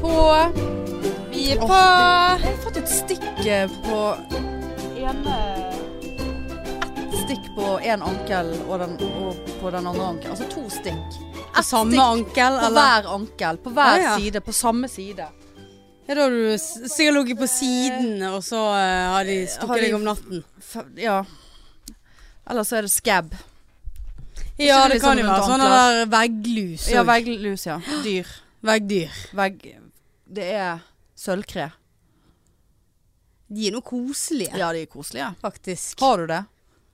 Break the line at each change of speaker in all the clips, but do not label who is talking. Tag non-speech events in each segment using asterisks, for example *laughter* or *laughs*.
på. Vi er på.
Jeg har fått et stikk eh, på Ett stikk på én ankel og, den, og på den andre ankelen. Altså to stikk.
På samme
stikk
ankel,
På
eller?
hver ankel. På hver
Ja, ja.
side. På samme side.
Ja, da har du s- sikkert ligget på siden, og så eh, har de
Har de-
stukket deg om natten.
F- Ja. Eller så er det scab.
Ja,
det
det
liksom
kan jo være
rundt
sånn
ankler?
der vegglus.
Ja,
og-
vegglus, ja. Dyr.
Veggdyr.
Vegg... Det er sølvkre.
De er noe koselige,
Ja, de er koselige.
faktisk.
Har du det?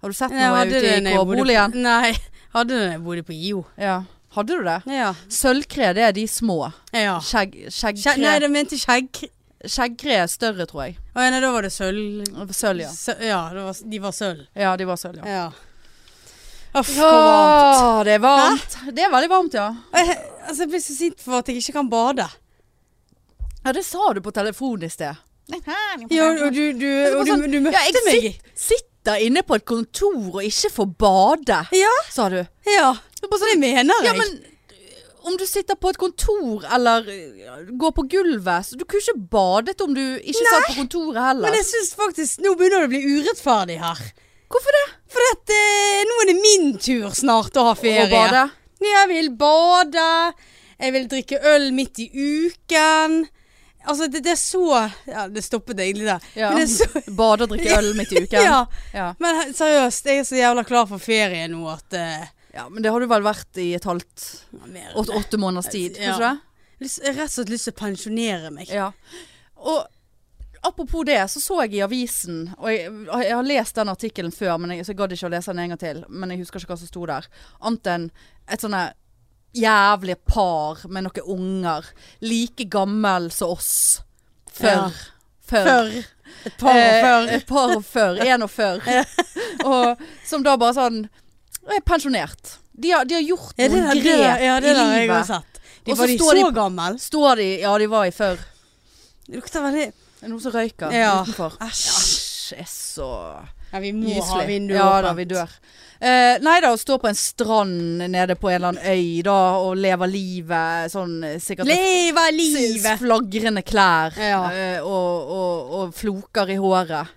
Har du sett
Jeg
noe
hadde
ute
det
i
når jeg bodde på-
kårboligen?
Nei, hadde det når jeg bodde på IO.
Ja. Hadde du det?
Ja.
Sølvkre, det er de små.
ja.
Skjegg,
Skje, nei,
skjeggkre
det mente skjegg.
Skjeggkre er større, tror jeg.
Å, ja, nei, da var det sølv.
Sølv, ja.
Sø- ja, det var, de var sølv.
Ja, de var sølv, ja.
Ja. Uff, hvor varmt.
Ja, det er varmt. Det er veldig varmt, ja.
Jeg, altså, jeg blir så sint for at jeg ikke kan bade.
Ja, det sa du på telefonen i *laughs* sted.
Ja, og du, sånn- du, og du, du møtte
ja, jeg
meg.
sit- sitter inne på et kontor og ikke får bade,
Ja.
sa du.
Ja, det mener jeg.
Ja, men om du sitter på et kontor eller eh, går på gulvet så Du kunne ikke badet om du ikke satt på kontoret heller.
Men jeg syns faktisk Nå begynner det å bli urettferdig her.
Hvorfor det?
For at, eh, nå er det min tur snart å ha ferie.
Å bade?
Jeg vil bade. Jeg vil drikke øl midt i uken. Altså, det, det er så Ja, det stoppet egentlig der.
Ja.
Men det er så
Bade og drikke øl midt i *laughs* uken?
Ja.
*laughs* Ja.
Men he- seriøst, jeg er så jævla klar for ferie nå at eh,
Ja, Men det har du vel vært i et halvt
mer-
åtte, åtte måneders tid,
Eh, Ja.
kanskje?
Lyst- Jeg har rett og slett lyst til å pensjonere meg.
Ja. Og apropos det, så så jeg i avisen, og jeg, jeg har lest den artikkelen før, men jeg, så jeg gadd ikke å lese den en gang til, men jeg husker ikke hva som sto der. Annet enn et sånne jævlig par med noen unger, like gammel som oss. Før.
Ja.
Før.
Før. Et par år før.
Eh, et par og før. En og før. *laughs* og som da bare sånn Er pensjonert. De har, de har gjort
Ja, det
noen
der, det
grep
der, ja, det
i
der har jeg
livet.
også sett. De
Og så
var de
står de
så
på-
gammel.
Står de Ja, de var i før.
Det lukter veldig
Det er noen som røyker
Ja.
utenfor.
Æsj.
Æsj, er så
Ja, vi må ha
gyselig.
vinduet
Ja
åpent.
da, vi dør. Eh, nei da, å stå på en strand nede på en eller annen øy da og leve livet sånn eh, sikkert med
Leve
s-
livet!
flagrende klær
Ja.
eh, og, og, og floker i håret.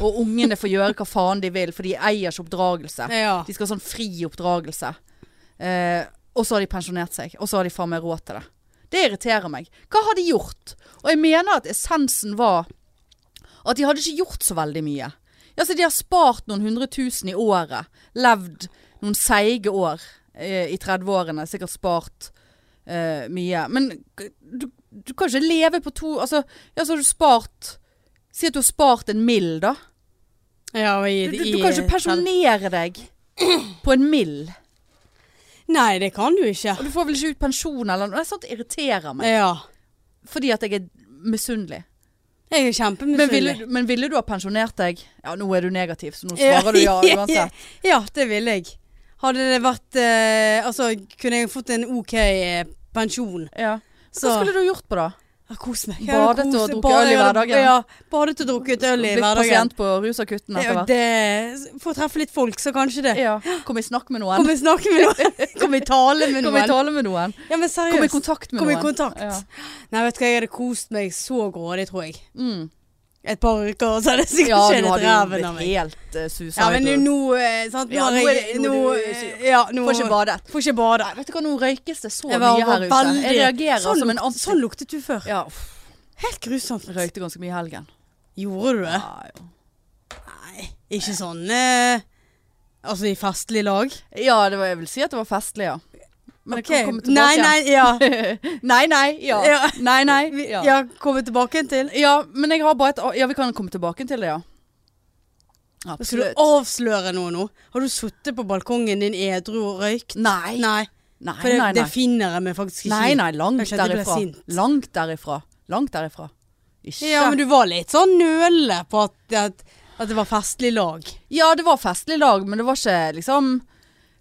Og ungene får gjøre hva faen de vil, for de eier ikke oppdragelse.
Ja.
De skal ha sånn fri oppdragelse. Eh, og så har de pensjonert seg. Og så har de faen meg råd til det. Det irriterer meg. Hva har de gjort? Og jeg mener at essensen var at de hadde ikke gjort så veldig mye. Ja, så de har spart noen hundre tusen i året. Levd noen seige år eh, i 30-årene. Sikkert spart eh, mye. Men k- du, du kan ikke leve på to Altså, ja, så har du spart Si at du har spart en mill, da.
ja og i,
Du, du,
i,
du kan ikke pensjonere deg på en mill.
Nei, det kan du ikke.
Og du får vel ikke ut pensjon eller noe. Det er sånt irriterer meg.
Ja.
Fordi at jeg er misunnelig. Men
Jeg er
ville,
kjempemisunnelig.
du- men ville du ha pensjonert deg Ja, nå er du negativ, så nå
*laughs* *laughs* Ja.
svarer du ja uansett.
Ja, det ville jeg. Hadde det vært eh, Altså, kunne jeg fått en OK eh, pensjon,
Ja.
så
Hva skulle du gjort på da?
Ja, Kos meg. Jeg hadde
Badet og
kost-
drukket
badet-
øl i hverdagen.
Ja, badet og drukket øl i
Blitt
hverdagen.
pasient på rusakutten etter
Ja,
hvert?
det, for å treffe litt folk, så kanskje det.
Ja. Kom i snakk med
Kom
noen.
i snakke med noen. *laughs* Kom i tale med
Kom i
noen.
tale med noen.
Ja, men
Kom i
seriøst.
kontakt med
Kom i
noen.
kontakt.
Ja.
Nei, vet du hva, jeg hadde kost meg så grådig, tror jeg.
Mm.
Et par uker, så hadde jeg sikkert
ja,
ja,
du
skjedd
hadde
et
jo
ræven av
blitt
meg.
helt uh, susa
Ja, men
ut.
nå, eh, sant, nå
Ja,
har
nå er
jeg
det- nå
Nå,
er du
eh,
syk.
ja, nå
Får ikke badet.
Får ikke bade.
Vet du hva, nå røykes det så mye
Jeg var- var
her ute. Jeg
veldig-
reagerer
sånn,
som en
lukt-
ansikt.
sånn luktet du før.
Ja, uff,
Helt grusomt.
røykte ganske mye i helgen.
Gjorde du det?
Ja, ja.
Nei, ikke sånn eh, Altså i festlig lag.
ja det var, jeg vil si at det var festlig, ja. Men jeg
Ok.
kan komme tilbake
Nei,
igjen.
nei, ja.
*laughs* nei, nei, ja.
Ja.
Nei, nei,
Vi-
ja. ja.
ja komme tilbake til.
men jeg har bare et Ja, vi kan komme tilbake til det, ja.
Skal du
Absolutt.
avsløre noe nå? Har du sittet på balkongen din edru og røykt?
Nei, nei,
Nei.
nei.
For det,
nei,
det finner jeg meg faktisk ikke
nei,
i.
nei langt
Kanskje at jeg ble
derifra.
sint.
Langt derifra. Langt derifra. Ikke
Ja, men du var litt sånn nølende på at, at, at det var festlig lag.
Ja, det var festlig lag, men det var ikke liksom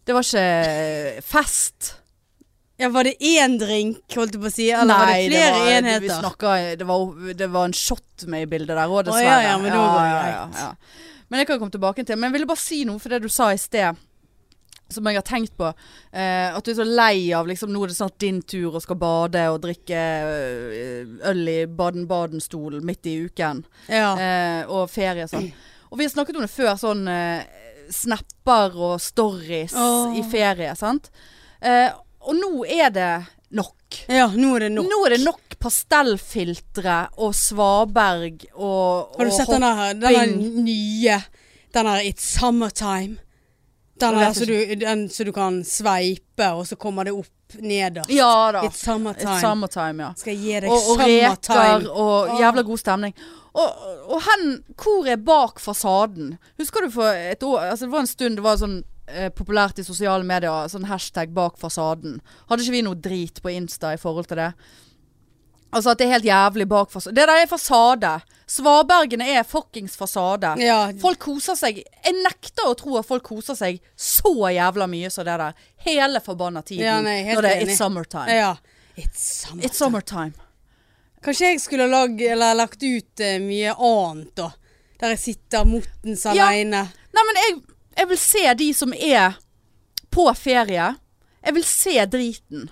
Det var ikke fest.
Ja, Var det én drink, holdt jeg på å si? Eller var det flere
var- Vi
enheter?
snakka, det, var, det var en shot med i bildet der òg,
ja,
dessverre.
ja, men da var det greit.
ja. Men jeg kan komme tilbake til Men jeg ville bare si noe for det du sa i sted. som jeg har tenkt på. Eh, at du er så lei av liksom, nå er det snart din tur og skal bade og drikke eh, øl i Baden-Baden-stol midt i uken.
Ja.
Eh, og ferie og sånn. Og vi har snakket om det før, sånn eh, snapper og stories
Åh.
i ferie, sant. Eh, og nå er det nok.
ja, nå er det nok.
Nå er det nok pastellfiltre og svaberg og
Har du
og
sett
hopp-
den her, den her nye? Den her It's Summertime. Den
Jeg
her
vet
så du, den, så du kan sveipe, og så kommer det opp nederst.
Ja da.
It's Summertime.
It's summertime, ja.
Skal jeg gi deg
og, og reker
Summertime.
og jævla god stemning. Og, og hen, hvor er bak fasaden? Husker du for et år altså Det var en stund det var sånn eh, populært i sosiale medier, sånn hashtag 'bak fasaden'. Hadde ikke vi noe drit på Insta i forhold til det? Altså at det er helt jævlig bak fasaden. Det der er fasade. Svabergene er fuckings fasade.
Ja,
Folk koser seg. Jeg nekter å tro at folk koser seg så jævla mye som det der. Hele forbanna tiden
Ja, nei, helt
når det er
enig.
'it's summertime'.
ja. It's Summertime.
It's summertime.
Kanskje jeg skulle ha lag, eller lagt ut eh, mye annet, da. Der jeg sitter muttens
Ja.
aleine.
Nei, men jeg, jeg vil se de som er på ferie. Jeg vil se driten.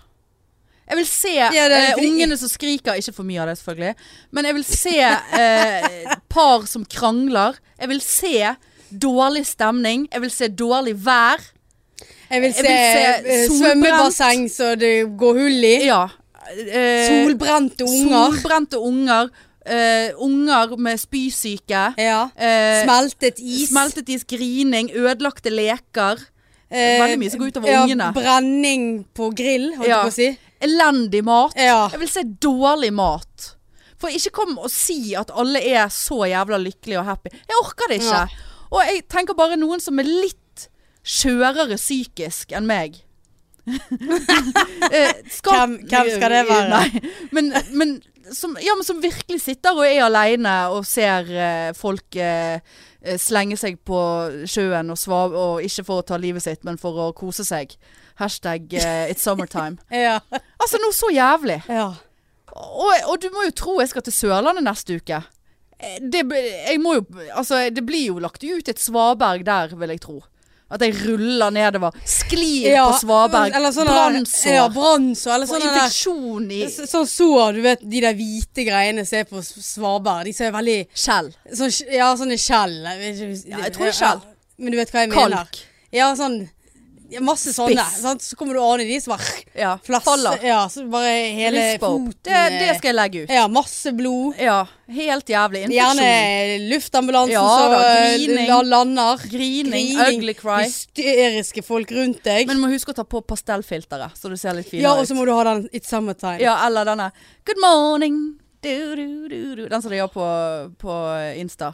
Jeg vil se
det er
eh,
fordi-
ungene som skriker. Ikke for mye av det, selvfølgelig. Men jeg vil se eh, par som krangler. Jeg vil se dårlig stemning. Jeg vil se dårlig vær.
Jeg vil
Jeg
se,
vil se
eh,
solbrent.
svømmebasseng så det går hull i.
Ja. eh,
Solbrente unger.
Solbrente unger. eh, unger med spysyke.
Ja.
eh,
Smeltet is.
Smeltet is, grining, ødelagte leker.
Eh,
Veldig mye som går utover ungene.
Brenning på grill, holdt jeg
Ja.
på å si.
Elendig mat.
Ja.
Jeg vil si dårlig mat. For ikke kom og si at alle er så jævla lykkelige og happy. Jeg orker det ikke.
Ja.
Og jeg tenker bare noen som er litt skjørere psykisk enn meg. *laughs* Eh, skal-
Hvem- hvem skal det være?
Nei, men, men, som, ja, men som virkelig sitter og er aleine og ser eh, folk eh, eh, slenge seg på sjøen og svave, og ikke for å ta livet sitt, men for å kose seg. Hashtag eh, it's summertime.
*laughs* Ja.
Altså noe så jævlig.
ja.
Og, og du må jo tro jeg skal til Sørlandet neste uke. Eh, Det, b- jeg må jo, altså, det blir jo lagt ut et svaberg der, vil jeg tro. At jeg ruller nedover. Sklir
Ja,
på svaberg.
eller sånne der-
Brannsår.
Ja, brannsår. Eller
og
sånne der
infeksjon i
så- Sånn sår, du vet de der hvite greiene som er på s- svaberg. De som er veldig
skjell.
sånn, sk- Ja, sånne skjell. Jeg vet ikke-
Ja, jeg tror det er skjell.
Ja, Men du vet hva jeg mener.
Kalk.
Ja, sånn ja, Masse sånne.
Spiss.
Sant? Så kommer du an i de som bare
Ja.
flasser.
Faller.
Ja, så bare hele
Rispa opp.
foten eh,
Det, det skal jeg legge ut.
Ja, masse blod.
Ja. Helt jævlig. Infeksjon.
Gjerne luftambulansen
Ja
som
da,
eh,
grining.
la- lander.
Grining. Ugly cry.
Hysteriske folk rundt deg.
Men du må huske å ta på pastellfilteret, så du ser litt finere
ja,
ut.
og så må du ha den It's Summertime.
Ja, eller denne Good morning du, du, du, du. Den som de gjør på, på Insta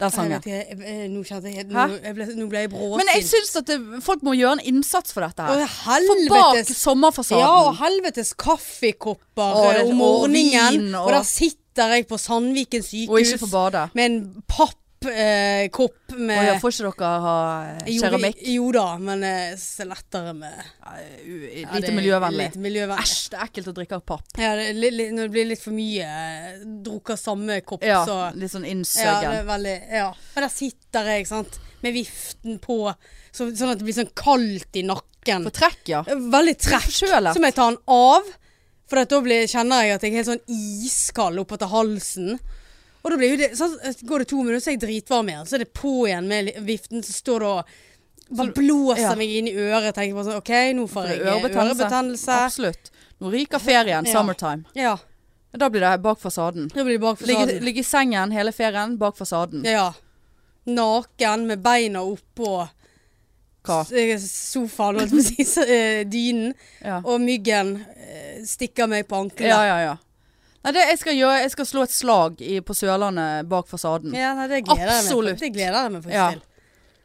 Den
Jeg
sangen
vet ikke, jeg- jeg- Nå kjente jeg helt
Hæ?
Nå jeg ble, nå ble jeg
Men jeg
bråsint.
synes at det, folk må gjøre en innsats for dette her
Å,
For bak
helvetes
sommerfasaden
Ja, og helvetes kaffekopper
Å, det-
eh, om
og
morgenen.
vin,
og,
og-
der sitter jeg på Sandviken
Og ikke få
sykehus
bade
med en pappkopp eh, kopp med
Åja, får ikke dere ha eh,
Jo, vi-
keramikk?
Jo da, men eh, så lettere med
Lite
Ja, det er
miljøvennlig
Lite miljøvennlig.
Æsj, det er ekkelt å drikke av papp
Ja, det, er litt, litt, når det blir litt for mye eh, Drukker samme kopp,
ja,
så
Litt sånn
ja, det
innsøgen
er veldig, ja. Men der sitter jeg, sant, med viften på, så, sånn at det blir sånn kaldt i nakken.
For trekk, ja
Veldig trekk.
Forkjølet.
Så må jeg ta den av, for at da blir, kjenner jeg at jeg er helt sånn iskald opp etter halsen. Og da blir jo det, sånn, går det to minutter, så er jeg dritvarm igjen. Så er det på igjen med li- viften, så står det og bare blåser
ja.
meg inn i øret. Tenker bare sånn, ok, nå
For
får
det
jeg
er ørebetennelse.
ørebetennelse.
Absolutt Nå ryker ferien,
Ja.
summertime
Ja,
Da blir det bak fasaden
da blir det bak
Ligge,
fasaden.
ligge i sengen hele ferien, bak fasaden
Ja. Naken med beina oppå
Hva?
s- eh, sofaen, holdt jeg på å si, så, eh, dynen.
Ja.
Og myggen eh, stikker meg på
Ja,
ankelet.
ja, ja. Nei, det jeg skal gjøre, jeg skal slå et slag i, på Sørlandet bak fasaden.
Ja, nei, det gleder jeg meg
Absolutt.
til. Det gleder jeg meg faktisk
Ja.
til.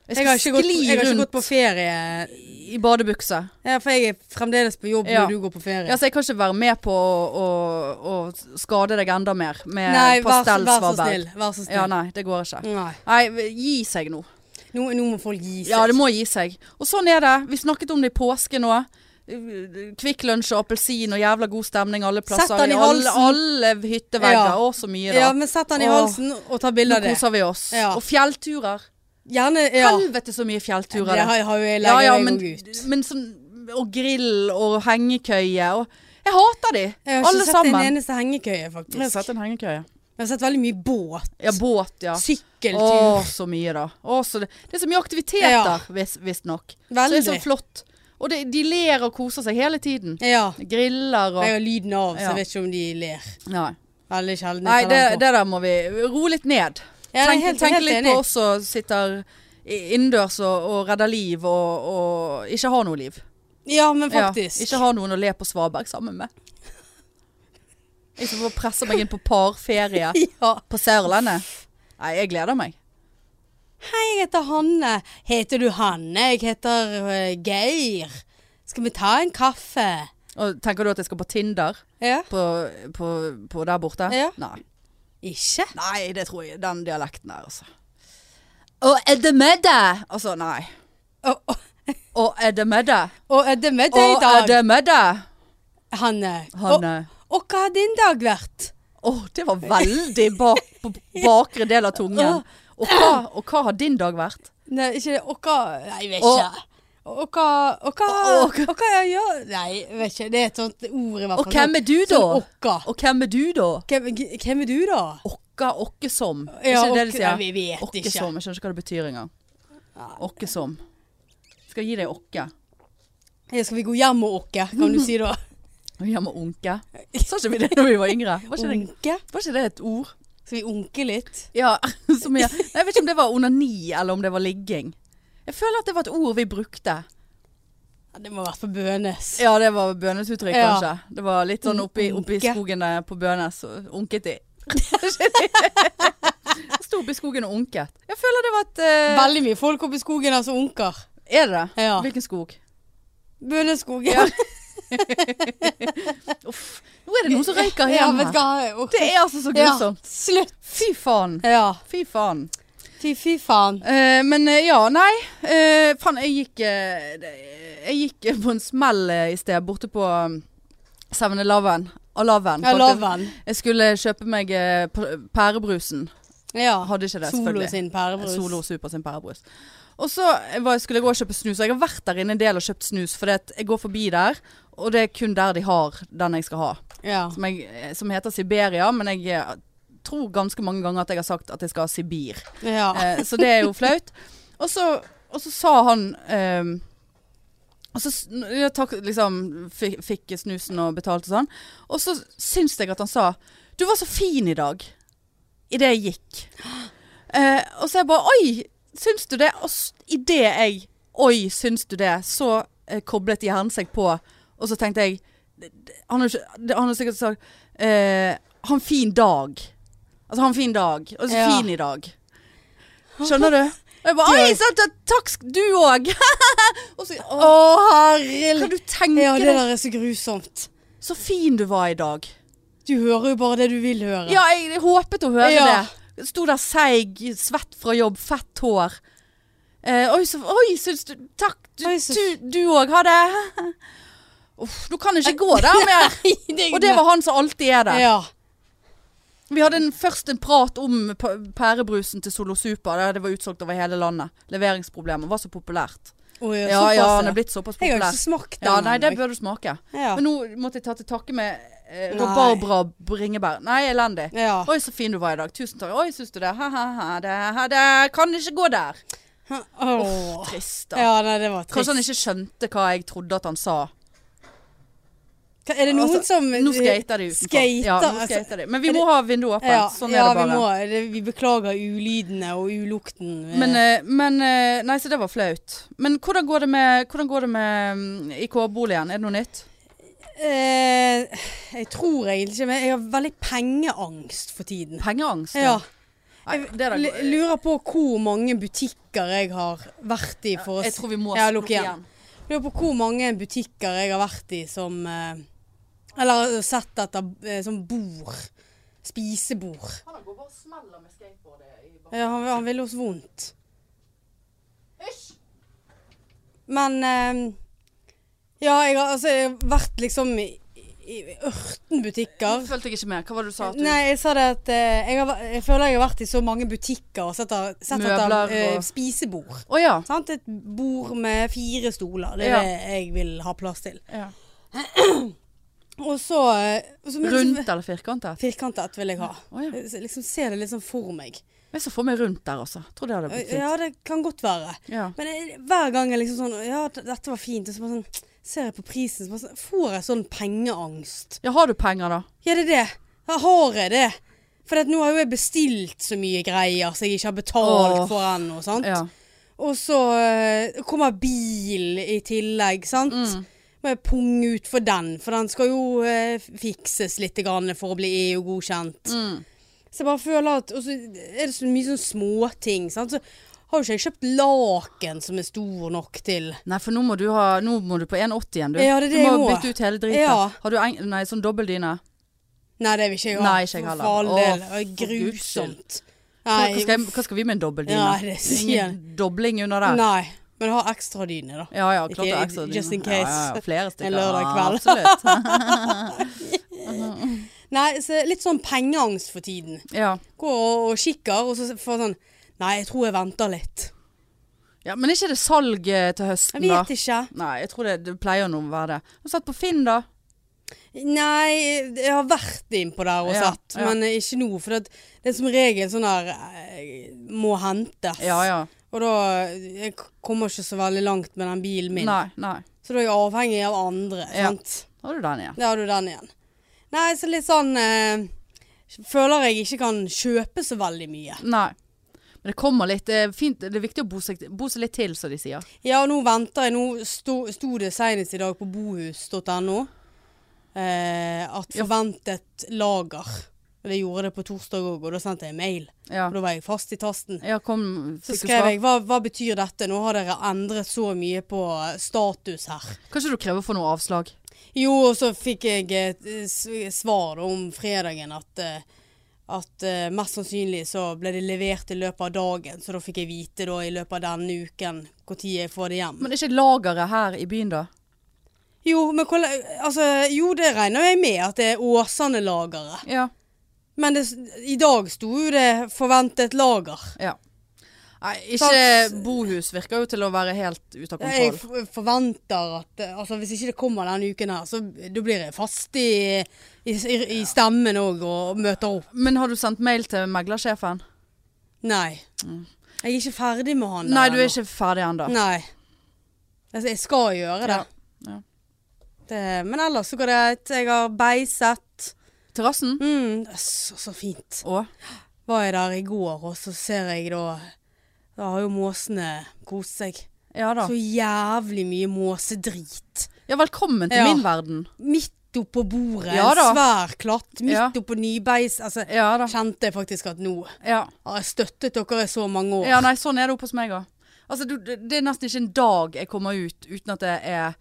Jeg
Jeg har,
skal
ikke gått, jeg har
skli
ikke gått
rundt
på ferie,
i badebukse.
ja, for jeg er fremdeles på jobb
Ja.
når du går på ferie.
Ja, så jeg kan ikke være med på å, å, å skade deg enda mer med
nei, vær, så- vær så
pastellsvaberg.
snill. Vær så snill.
Ja, nei, det går ikke.
nei.
Nei, gi seg nå.
Nå, nå må folk gi seg.
Ja, det må gi seg. Og sånn er det. Vi snakket om det i påsken òg. Kvikk lunsj og appelsin og jævla god stemning alle plasser.
Sett den i
alle,
halsen.
alle hyttevegger.
Ja.
Å, så mye, da.
Ja, men sett den i
Åh.
halsen og ta bilde
Nå
av det.
koser vi oss.
Ja.
Og fjellturer.
Gjerne ja.
Helvete så mye fjellturer
Det
det
har, har jo jeg
Ja,
lenge
ja,
jeg
men,
òg ut.
men sånn Og grill og hengekøye og Jeg hater de!
Jeg har ikke
Alle
sett
sammen.
en eneste hengekøye, faktisk.
Jeg har sett en hengekøye.
Jeg har sett veldig mye båt.
Ja, båt, ja. Å,
Sykkeltur.
så mye, da. Å, så det, det er så mye
Ja.
aktiviteter, vis- visstnok. Så det er så
Veldig.
flott. Og det, de ler og koser seg hele tiden.
Ja.
Griller
Jeg
og
har lyden av, så
Ja.
jeg vet ikke om de ler.
Nei,
Veldig sjelden.
Nei
jeg tar
det, det
den på.
der må vi roe litt ned.
Ja, jeg er
Tenk,
helt-
tenk
helt
litt
enig.
på oss som sitter i- innendørs og, og redder liv og, og ikke har noe liv.
Ja, men
Ja,
faktisk.
ikke har noen å le på Svaberg sammen med. Jeg skal få presse meg inn på parferie
*laughs* ja.
på Sørlandet. Nei, jeg gleder meg.
Hei, jeg heter Hanne. Heter du Hanne? Jeg heter eh, Geir. Skal vi ta en kaffe?
Og tenker du at jeg skal på Tinder
Ja.
på, på, på der borte?
Ja.
Nei.
Ikke?
nei, det tror jeg. Den dialekten der, altså. Og er det med deg? Altså, nei.
Og, og,
Og er det med deg?
og er det med deg i
Og er
dag,
det med deg?
Hanne?
Hanne.
Og, og hva har din dag vært?
Å, det var veldig bak, på bakre del av tungen. Og hva, og hva har din dag vært?
Nei, ikke det. Og hva Nei, jeg vet
Og-
ikke. Og hva Og hva,
Og-
og, hva jeg gjør Nei, jeg vet ikke. Det er et sånt ord i hvert fall.
Og hvem er du da?
Sånn okka.
Og hvem er du da?
Hvem, hvem er du, da?
Okka, okke som. Er
Ja,
ikke det
ok-
de sier?
Nei, vi vet
Okke
ikke.
som. Jeg skjønner ikke Ah. hva det betyr engang. Okke som. Skal gi deg okke.
Ja, skal vi gå hjem og åkke, kan du
*laughs*
si da?
Og hjemme og onke. Sa ikke vi det da vi var yngre? Var ikke, det,
Onke?
var ikke det et ord?
Skal vi onke litt?
Ja, *laughs* så mye. Nei, Jeg vet ikke om det var onani eller om det var ligging. Jeg føler at det var et ord vi brukte.
Ja, det må ha vært på Bønes.
Ja, det var bønesuttrykk,
Ja.
kanskje. Det var litt sånn oppi, oppi
Onke.
skogen der på Bønes, og onket *laughs* de. Sto oppi skogen og onket. Jeg føler det var et eh,
Veldig mye folk oppe i skogen altså onker.
Er det det?
Ja.
Hvilken skog?
Bøneskogen.
Ja, Uff. Nå er det noen som røyker
*laughs* Ja,
hjemme.
vet du hva? Jeg orker
det er altså så grusomt.
Ja, slutt.
Fy faen.
Ja.
Fy faen.
Fy, fy faen.
Eh, men eh, ja, nei. Eh, faen, jeg gikk eh, det- Jeg gikk eh, på en smell eh, i sted borte på um, 7-Eleven. Alaven.
Jeg
faktisk.
lover den.
Jeg skulle kjøpe meg eh, pr- pærebrusen.
Ja.
Hadde ikke det,
Solo
selvfølgelig.
sin pærebrus.
Solo Super sin pærebrus. Og så eh, var, skulle jeg gå og kjøpe snus, og jeg har vært der inne en del og kjøpt snus, for jeg går forbi der, og det er kun der de har den jeg skal ha.
Ja.
Som, jeg, eh, som heter Siberia, men jeg eh, tror ganske mange ganger at jeg har sagt at jeg skal ha Sibir.
ja.
Eh, så det er jo flaut. Og så, og så sa han ehm, og så s- n- jeg takk, liksom, fikk, fikk snusen og betalte sånn. Og så syns jeg at han sa 'Du var så fin i dag' idet jeg gikk. Eh, og så jeg bare 'Oi, syns du det?' Og s- idet jeg 'Oi, syns du det?' så eh, koblet hjernen seg på, og så tenkte jeg d- d- Han har jo ikke- han har sikkert sagt eh, 'Ha en fin dag'. Altså 'ha en fin dag'. Og så
Ja.
'fin i dag'. Skjønner du? Og jeg bare
Du er-
'Oi, sant, ja, takk sk- du òg'. *laughs* og så
Å, herregud.
kan du tenke
Ja, det
deg
der er så grusomt.
så fin du var i dag?
Du hører jo bare det du vil høre.
Ja, jeg, jeg håpet å høre
Ja.
det. Sto der seig, svett fra jobb, fett hår. Eh, oi, så, oi, syns du Takk, du
Oi, så-
du- du òg. Ha det. *laughs* Uff, du kan ikke gå
*laughs*
der mer.
*laughs* det,
Og det var han som alltid er der.
Ja.
Vi hadde en, først en prat om p- pærebrusen til Solo Super. der Det var utsolgt over hele landet. Leveringsproblemer. Var så populært.
Å, ja,
Ja,
såpass,
ja,
ja.
han er blitt såpass
Jeg har ikke
populær.
smakt den.
Ja, nei, det
ennå.
bør du smake.
Ja.
Men nå måtte jeg ta til takke med eh,
Nei.
rabarbra bringebær. Nei, elendig.
Ja.
Oi, så fin du var i dag. Tusen takk. Oi, syns du det? Ha-ha-ha. Det, ha, det. Kan ikke gå der.
Åh.
Trist, da.
Ja, nei, det var
Kanskje han
trist.
ikke skjønte hva jeg trodde at han sa.
Hva- Er det noen
Altså,
som eh,
Nå skater de utenfor.
Skater,
ja, nå
altså.
skater de. Men vi må ha vinduet åpent.
Ja,
sånn
ja
er det
vi, må,
bare.
det, vi beklager ulydene og ulukten. eh.
Men, eh, men eh, Nei, så det var flaut. Men hvordan går det med, hvordan går det med mm, IK-boligen? Er det noe nytt?
eh, jeg tror egentlig ikke, men jeg har veldig pengeangst for tiden.
Pengeangst?
Ja,
Nei, det er da-
jeg l- lurer på hvor mange butikker jeg har vært i for å
jeg
s-
tror vi må
Ja, lukke igjen. Lurer på hvor mange butikker jeg har vært i som eh, Eller sett etter eh, som bord. Spisebord.
Han går bare og smeller med skateboardet i
Ja, han, han ville oss vondt.
Hysj!
ehm, Men eh, Ja, jeg har, altså, jeg har vært liksom i, i ørten butikker.
Følte jeg ikke med. Hva var det du sa? At du,
Nei, jeg sa det at eh, jeg, har, væ- jeg føler jeg har vært i så mange butikker og sett, av- sett etter
Møbler
eh,
og-
spisebord.
Å ja.
Sant? Et bord med fire stoler. Det er
Ja.
det jeg vil ha plass til.
ja.
Og så, eh, og så men-
Rundt eller firkantet?
Firkantet vil jeg ha.
Å ja.
Jeg Liksom ser det litt sånn for meg.
Jeg så for meg rundt der også. Tror det hadde blitt fint.
Ja, det kan godt være.
Ja.
Men jeg, hver gang jeg liksom sånn Ja, d- dette var fint. Og så bare sånn Ser jeg på prisen, så bare sånn, får jeg sånn pengeangst.
ja, har du penger da?
Ja, det er det. Ja, har jeg det? For at nå har jo jeg bestilt så mye greier som jeg ikke har betalt
Åh.
for ennå, sant.
Ja.
Og så eh, kommer bil i tillegg, sant.
Mm.
Må jeg punge ut for den, for den skal jo eh, fikses litt grann for å bli EU-godkjent.
Mm.
Så jeg bare føler at Og så er det så mye sånn småting. sant? Så har jo ikke jeg kjøpt laken som er stor nok til
Nei, for nå må du, ha, nå må du på 1,80 igjen, du.
Ja, det er det
du
jeg
må
må.
bytte ut hele driten.
Ja.
Har du eng nei, sånn dobbeldyne?
Nei, det vil ikke jeg ha.
Nei, ikke jeg heller.
For all
Åh,
del. Det er
for Guds skyld.
grusomt.
Hva,
Nei,
hva, skal jeg, hva skal vi med en dobbeldyne?
Ja, det sier jeg.
Ingen dobling under der.
nei. Men ha ekstra dyne, da.
Ja, ja, klart det er
Ikke-
ekstra dyne.
just in
Ja, ja, ja,
case.
flere stykker.
En lørdag kveld.
Ja,
*laughs*
absolutt.
Nei, så litt sånn pengeangst for tiden.
Ja.
Går og, og kikker, og så får jeg sånn Nei, jeg tror jeg venter litt.
ja, men er ikke det salg eh, til høsten,
Jeg
da?
vet ikke.
Nei, jeg tror det, det pleier nå å være det. Du har satt på Finn, da.
Nei, jeg har vært innpå der og
Ja,
sett,
ja.
men ikke nå. For det, det er som regel sånn der eh, Må hentes.
Ja, ja.
Og da Jeg kommer ikke så veldig langt med den bilen min.
Nei, nei.
Så da er jeg avhengig av andre.
Ja.
Sant?
Da har du den igjen.
Da har du den igjen. Nei, så litt sånn eh, Føler jeg ikke kan kjøpe så veldig mye.
Nei. Men det kommer litt. Det er, fint, det er viktig å bo seg, bo seg litt til, som de sier.
Ja, og nå venter jeg. Nå sto, sto det senest i dag på bohus.no eh, at forventet lager. Og det gjorde det på torsdag òg, og da sendte jeg mail.
Ja,
Og da var jeg fast i tasten.
ja kom.
Så
fikk du
skrev
svar?
jeg hva, hva betyr dette? Nå har dere endret så mye på eh, status her.
Kanskje du krever å få noe avslag?
Jo, og så fikk jeg et eh, s- svar da om fredagen at, eh, at eh, mest sannsynlig så ble det levert i løpet av dagen, så da fikk jeg vite da i løpet av denne uken hvor tid jeg får det hjem.
Men er ikke lageret her i byen, da?
Jo, men hvor, la- altså, jo, det regner jeg med at det er Åsane-lageret.
Ja.
Men det, s- i dag sto jo det forventet lager.
ja. Nei, ikke
Sant.
bohus virker jo til å være helt ute av
Jeg
kontroll.
f- forventer at eh, altså, hvis ikke det kommer denne uken her, så da blir jeg fast i, i, i, i stemmen òg og møter opp.
Men har du sendt mail til meglersjefen?
Nei. Jeg er ikke ferdig med han. der
Mm. Nei, du er
ennå.
ikke ferdig ennå.
Nei. Altså, jeg skal gjøre det.
Ja, ja.
det. Men ellers så går det greit. Jeg har beiset.
Terrassen?
Mm, så, så fint.
Å?
Var jeg der i går, og så ser jeg da Da har jo måsene kost seg.
Ja da.
Så jævlig mye måsedrit.
Ja, velkommen til
Ja.
min verden.
Midt oppå bordet,
Ja
en
da.
svær klatt, midt
Ja.
oppå nybeis. Altså,
Ja da.
kjente jeg faktisk at nå har
Ja.
jeg støttet dere i så mange år.
Ja, nei, sånn er det oppe hos meg òg. Altså, du, det det er nesten ikke en dag jeg kommer ut uten at det er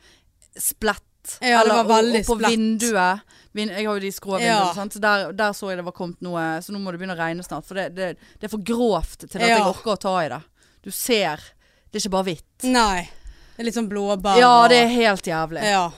splett.
Ja, det var
og-
veldig
og på
splett.
vinduet. Vin, jeg har jo de skrå vinduene,
Ja.
sant? så der, der så jeg det var kommet noe. Så nå må det begynne å regne snart. For det, det, det er for grovt til at jeg
Ja.
orker å ta i det. Du ser. Det er ikke bare hvitt.
Nei. Det er litt sånn blåbær.
Ja,
og-
det er helt jævlig.
Ja.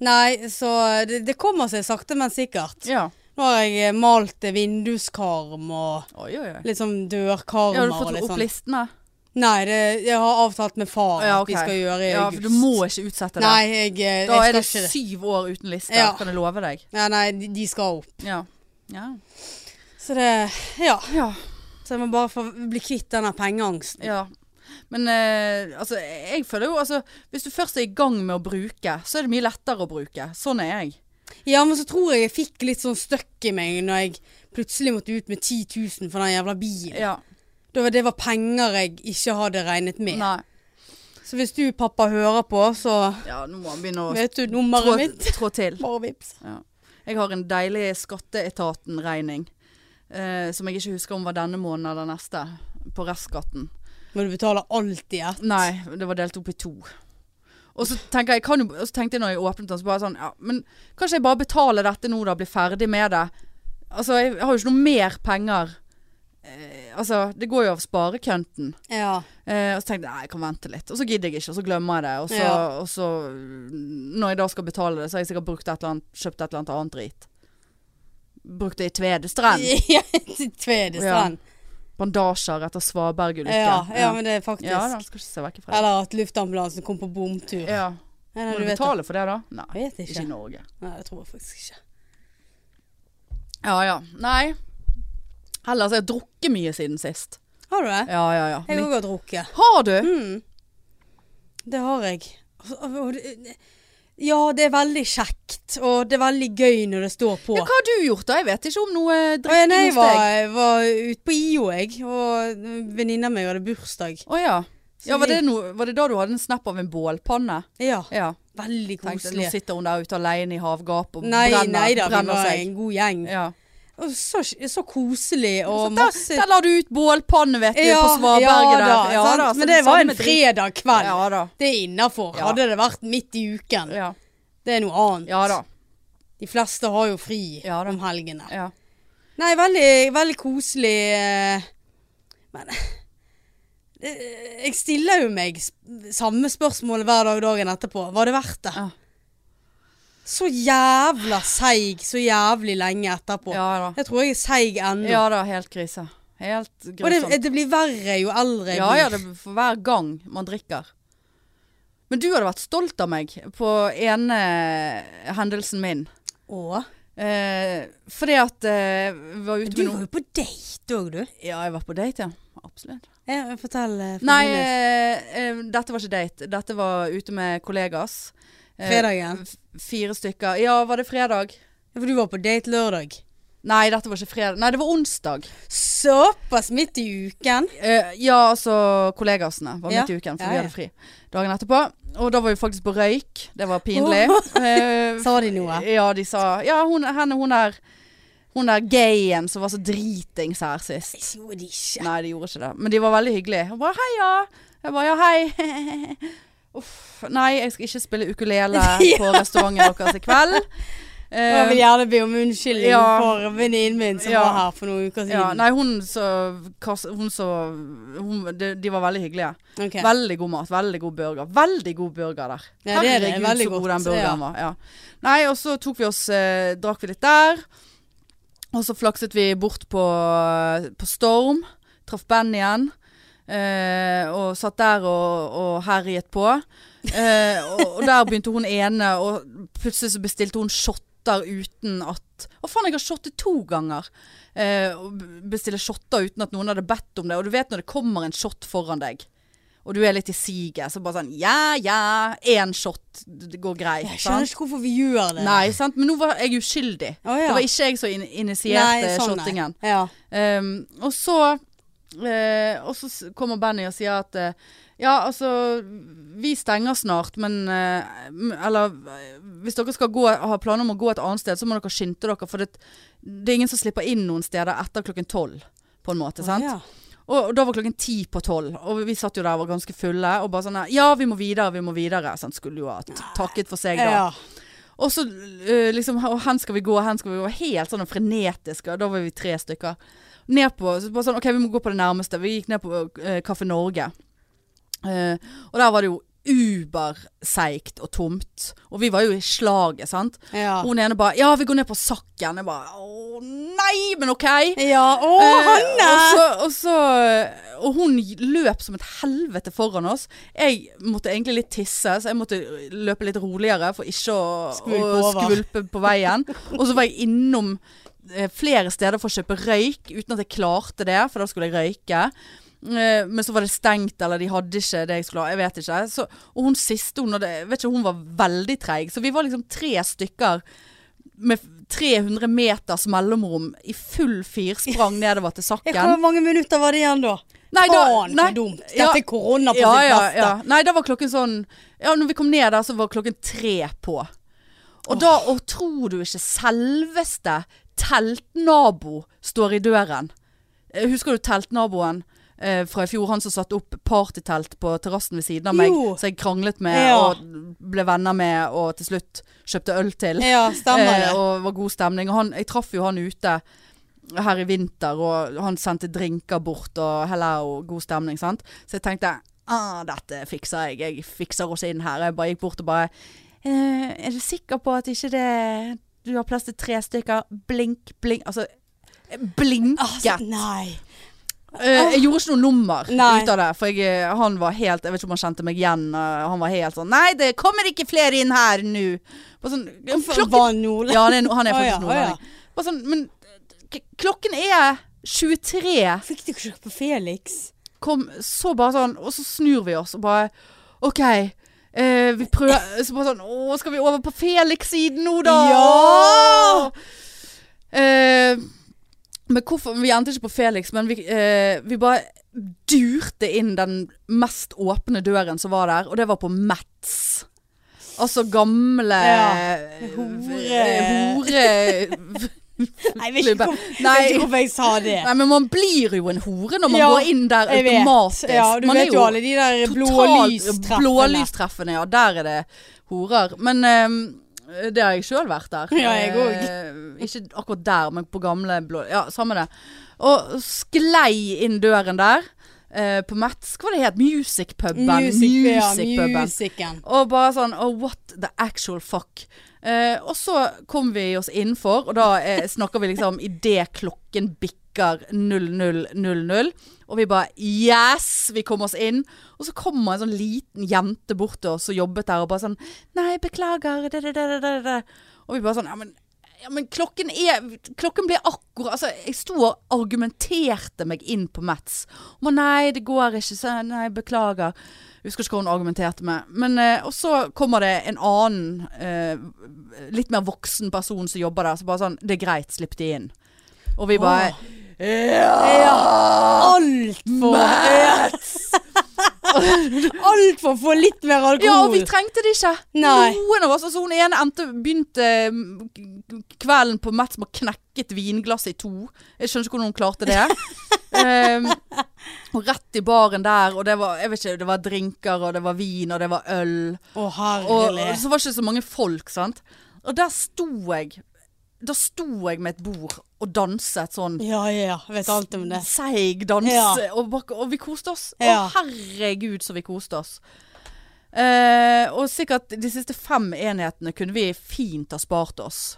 Nei, så det, det kommer seg sakte, men sikkert.
Ja.
Nå har jeg eh, malt eh, vinduskarm og
Oi, oi, oi.
litt sånn dørkarmer.
Ja, har du
og
fått
litt
opp
sånn.
listene?
Nei, det, jeg har avtalt med far
Ja,
at vi
ok.
skal gjøre i
Ja, for
august.
du må ikke utsette det.
Nei, jeg, eh,
da er
jeg
det
skal ikke det.
syv år uten liste,
Ja.
kan jeg love deg.
Nei, nei, de, de skal opp.
Ja. Ja.
Så det Ja.
ja.
Så jeg må bare få bli kvitt denne pengeangsten.
Ja. Men eh, altså, jeg føler jo altså, Hvis du først er i gang med å bruke, så er det mye lettere å bruke. Sånn er jeg.
Ja, men så tror jeg jeg fikk litt sånn støkk i meg når jeg plutselig måtte ut med 10 000 for den jævla bilen.
Ja.
Da var- Det var penger jeg ikke hadde regnet med.
Nei.
Så hvis du, pappa, hører på, så
Ja, nå må han begynne å
Vet du
trå,
nummeret mitt?
trå til.
Bare vips.
Jeg har en deilig Skatteetaten-regning eh, som jeg ikke husker om var denne måneden eller neste. På restskatten.
Men du betaler alltid ett.
Nei, det var delt opp i to. Og så, tenker jeg, kan jo, og så tenkte jeg når jeg åpnet den, så bare sånn ja, Men kanskje jeg bare betaler dette nå, da. Blir ferdig med det. Altså, jeg har jo ikke noe mer penger. Eh, Altså, det går jo av sparekønten.
Ja.
Eh, og så tenkte jeg nei, jeg kan vente litt. Og så gidder jeg ikke, og så glemmer jeg det. Og så,
Ja.
og så mm, når jeg da skal betale det, så har jeg sikkert brukt et eller annet, kjøpt et eller annet annet drit. Brukt det i Tvedestrand.
ja *laughs* Tvedestrand.
Bandasjer etter Svaberg-ulykken.
Ja, ja, men det er faktisk
ja da, skal ikke se vekk fra det.
Eller at luftambulansen kom på bomtur.
Ja.
Nei, nei,
Må
du
du
vet
betale for det, da? Nei.
Jeg vet
Ikke
ikke.
i Norge.
Nei, det tror jeg faktisk ikke.
Ja ja. Nei. Ellers har jeg drukket mye siden sist.
Har du det?
Ja ja ja.
Jeg
Men-
òg har drukket.
Har du?
Mm. Det har jeg. Altså, Og- og- og det- Ja, det er veldig kjekt, og det er veldig gøy når det står på.
Ja, hva har du gjort da? Jeg vet ikke om noe
Og jeg,
drikking
nei, jeg
hos deg.
var, var ute på IO, jeg, og venninna mi hadde bursdag.
Å ja.
Så
Ja, var
vi-
det, noe, var det da du hadde en snap av en bålpanne?
Ja,
Ja.
veldig
Tenkte, nå
koselig.
sitter hun der ute alene i havgapet og
Nei,
brenner,
nei da, vi
brenner
var
seg.
en god gjeng.
Ja.
Og så, så koselig
Så
og
der,
masse
der la du ut bålpanne, vet du, på Svaberget der.
ja, da,
Ja
sant?
da, så
Men det var
samme
en
drit-
fredag kveld.
Ja da.
Det er innafor.
Ja.
Hadde det vært midt i uken,
Ja,
det er noe annet.
ja da.
De fleste har jo fri
Ja da.
om helgene.
Ja.
Nei, veldig, veldig koselig. eh, Men *laughs* eh, jeg stiller jo meg sp- samme spørsmål hver dag dagen etterpå. Var det verdt det?
Ja.
Så jævla seig så jævlig lenge etterpå.
ja da.
Jeg tror jeg er seig ennå.
Ja da, helt krise. Helt
Og det,
grusomt.
det blir verre jo eldre jeg
Ja,
blir.
ja, det er for hver gang man drikker. Men du hadde vært stolt av meg på ene hendelsen min.
Åh.
Eh, fordi at eh, vi var ute
Du
med
var
noen
jo på date òg, du.
Ja, jeg var på date, ja. Absolutt.
Ja, fortell. eh,
Nei,
forhåpentligvis.
eh, eh, dette var ikke date. Dette var ute med kollegas. Eh,
Fredagen.
f- Fire stykker. Ja, var det fredag?
Ja, For du var på date lørdag.
Nei, dette var ikke fredag. Nei, det var onsdag.
Såpass midt i uken.
Eh, ja, altså kollegasene var
Ja.
midt i uken, for
Ja,
vi
ja.
hadde fri dagen etterpå. Og da var vi faktisk på røyk. Det var pinlig. *laughs* Eh,
*laughs* Sa de noe?
Ja, de sa Ja, hun, henne, hun er Hun er gayen som var så dritings her
Det
sist.
gjorde de ikke.
Nei, de gjorde ikke det. Men de var veldig hyggelige. Hun bare 'hei, ja'. Jeg bare 'ja, hei'. *laughs* Uff. Nei, jeg skal ikke spille
*laughs*
ukulele på restauranten deres i kveld.
Og Jeg vil
Eh,
gjerne be om unnskyldning
Ja.
for venninnen min som
Ja.
var her for noen uker
ja,
siden.
nei, hun så kass- Hun så hun, de, de var veldig hyggelige.
Ok.
Veldig god mat, veldig god burger. Veldig god burger der.
Ja, det er det.
Herregud,
Veldig
så god
godt.
den burgeren
Ja.
var. Ja. Nei, og så tok vi oss eh, Drakk vi litt der. Og så flakset vi bort på, på Storm. Traff Ben igjen. Eh, og satt der og, og herjet på. Eh, og, og der begynte hun ene, og plutselig så bestilte hun shotter uten at Å faen, jeg har shottet to ganger! Eh, og b- bestille shotter uten at noen hadde bedt om det. Og du vet når det kommer en shot foran deg, og du er litt i siget, så bare sånn Ja, ja, én shot, det går greit.
Jeg skjønner
sant?
ikke hvorfor vi gjør det.
Nei, sant? Men nå var jeg uskyldig.
Å, ja.
Det var ikke jeg som in initierte
Nei, sånn, nei.
shottingen.
Ja.
Ehm, og så eh, Og så s- kommer Benny og sier at eh, Ja, altså Vi stenger snart, men eh, m- Eller eh, hvis dere skal gå, ha planer om å gå et annet sted, så må dere skynde dere. For det, det er ingen som slipper inn noen steder etter klokken tolv, på en måte. sant?
Ja.
Og, og da var klokken ti på tolv, og vi satt jo der og var ganske fulle. Og bare sånn Ja, vi må videre, vi må videre. Sant? Skulle jo ha t- takket for seg, da.
ja.
Og så eh, liksom «Å, Hen skal vi gå, hen skal vi gå. Helt sånn frenetisk. Og da var vi tre stykker. Ned på så bare sånn, OK, vi må gå på det nærmeste. Vi gikk ned på uh, Kaffe Norge. Eh, og der var det jo uberseigt og tomt. Og vi var jo i slaget, sant.
Ja.
Hun ene bare 'Ja, vi går ned på Sakken'. Jeg bare 'Å nei, men OK'.
ja. Å,
Eh,
Hanne!
Og, så, og, så, og hun løp som et helvete foran oss. Jeg måtte egentlig litt tisse, så jeg måtte løpe litt roligere for ikke å
Skvulpe
å
over.
skvulpe på
*laughs*
veien. Og så var jeg innom eh, flere steder for å kjøpe røyk uten at jeg klarte det, for da skulle jeg røyke. Eh, Men så var det stengt, eller de hadde ikke det jeg skulle ha. Jeg vet ikke. Så, og hun siste, hun, hadde, jeg vet ikke, hun var veldig treig. Så vi var liksom tre stykker med 300 meters mellomrom i full
*laughs*
firsprang nedover til
Ja, Hvor
Sakken.
mange minutter var det igjen da?
Nei, da-
Faen,
nei,
så dumt. Dette
ja,
er korona på
ja,
sitt
ja,
beste.
ja. Nei, da var klokken sånn Ja, når vi kom ned der, så var klokken tre på. Og da, og tror du ikke selveste teltnabo står i døren? Eh, Husker du teltnaboen eh, fra i fjor? Han som satte opp partytelt på terrassen ved siden av meg,
Jo.
som jeg kranglet med
Ja.
og ble venner med, og til slutt kjøpte øl til.
Ja, stemmer det.
Eh, og det var god stemning. Og han, jeg traff jo han ute her i vinter, og han sendte drinker bort og hello, god stemning, sant. Så jeg tenkte ah, dette fikser jeg, jeg fikser oss inn her. Jeg bare gikk bort og bare eh, Er du sikker på at ikke det Du har plass til tre stykker? Blink, blink. Altså blinket.
Altså, nei.
Eh, jeg gjorde ikke noe nummer
Nei.
ut av det, for jeg, eh, han var helt Jeg vet ikke om han kjente meg igjen. eh, han var helt sånn Nei, det kommer ikke flere inn her nå. Bare sånn, klokken
Var
*laughs*
Nordland
Ja, han er, no- han er
Å
faktisk
ja, å ja.
nordlending. Bare sånn, men k klokken er 23.
Fikk du ikke på Felix?
Kom, så bare sånn, og så snur vi oss og bare OK. eh, vi
*laughs*
prøver Så bare sånn Å, skal vi over på Felix-siden nå, da?
Ja!
Eh, men hvorfor Vi endte ikke på Felix, men vi, eh, vi bare durte inn den mest åpne døren som var der, og det var på Mats. Altså gamle
Ja.
eh,
Hore-
hore
Nei, jeg vet ikke
Klubbe.
hvorfor, jeg
Nei.
vet ikke hvorfor jeg sa det.
*laughs* Nei, men man blir jo en hore når man
Ja,
går inn der
Jeg vet.
automatisk.
Ja, du
man
vet jo alle de der
totalt
blålystreffene.
blålystreffene. Ja, der er det horer. Men eh, det har jeg sjøl vært der.
*laughs* Ja, jeg òg.
Eh, ikke akkurat der, men på gamle blå... Ja, samme det. Og sklei inn døren der. eh, på Metz, hva var det het? Musicpuben.
Music, ja,
Musicpuben.
musikken.
Og bare sånn oh, What the actual fuck? Eh, og så kom vi oss innenfor, og da eh, snakker vi liksom idet klokken bikker 00.00. Og vi bare Yes! Vi kom oss inn. Og så kommer en sånn liten jente bort til oss og jobbet der og bare sånn Nei, beklager. Det, det, det, det, det, det. Og vi bare sånn Ja, men, ja, men klokken er Klokken ble akkurat Altså, jeg sto og argumenterte meg inn på Mats. Om nei, det går ikke. Så, nei, beklager. Jeg husker ikke hva hun argumenterte med. Men eh, Og så kommer det en annen, eh, litt mer voksen person som jobber der, som bare sånn 'Det er greit, slipp de inn'. Og vi bare Ja!
Altfor Altfor for litt mer alkohol.
Ja, og vi trengte det ikke.
Nei.
Noen av oss. Altså, hun ene endte, begynte mm, k- kvelden på Mats med å knekke et vinglass i to. Jeg skjønner ikke hvordan hun klarte det.
*laughs*
Ehm, og rett i baren der, og det var, jeg vet ikke, det var drinker, og det var vin, og det var øl.
Å,
Og,
herlig.
og så var det ikke så mange folk, sant. Og der sto jeg. Da sto jeg med et bord og danset sånn
Ja, ja. Jeg vet alt om det.
seig dans.
Ja.
Og, bak- og vi koste oss.
Ja.
Å herregud, så vi koste oss. Eh, og sikkert de siste fem enhetene kunne vi fint ha spart oss.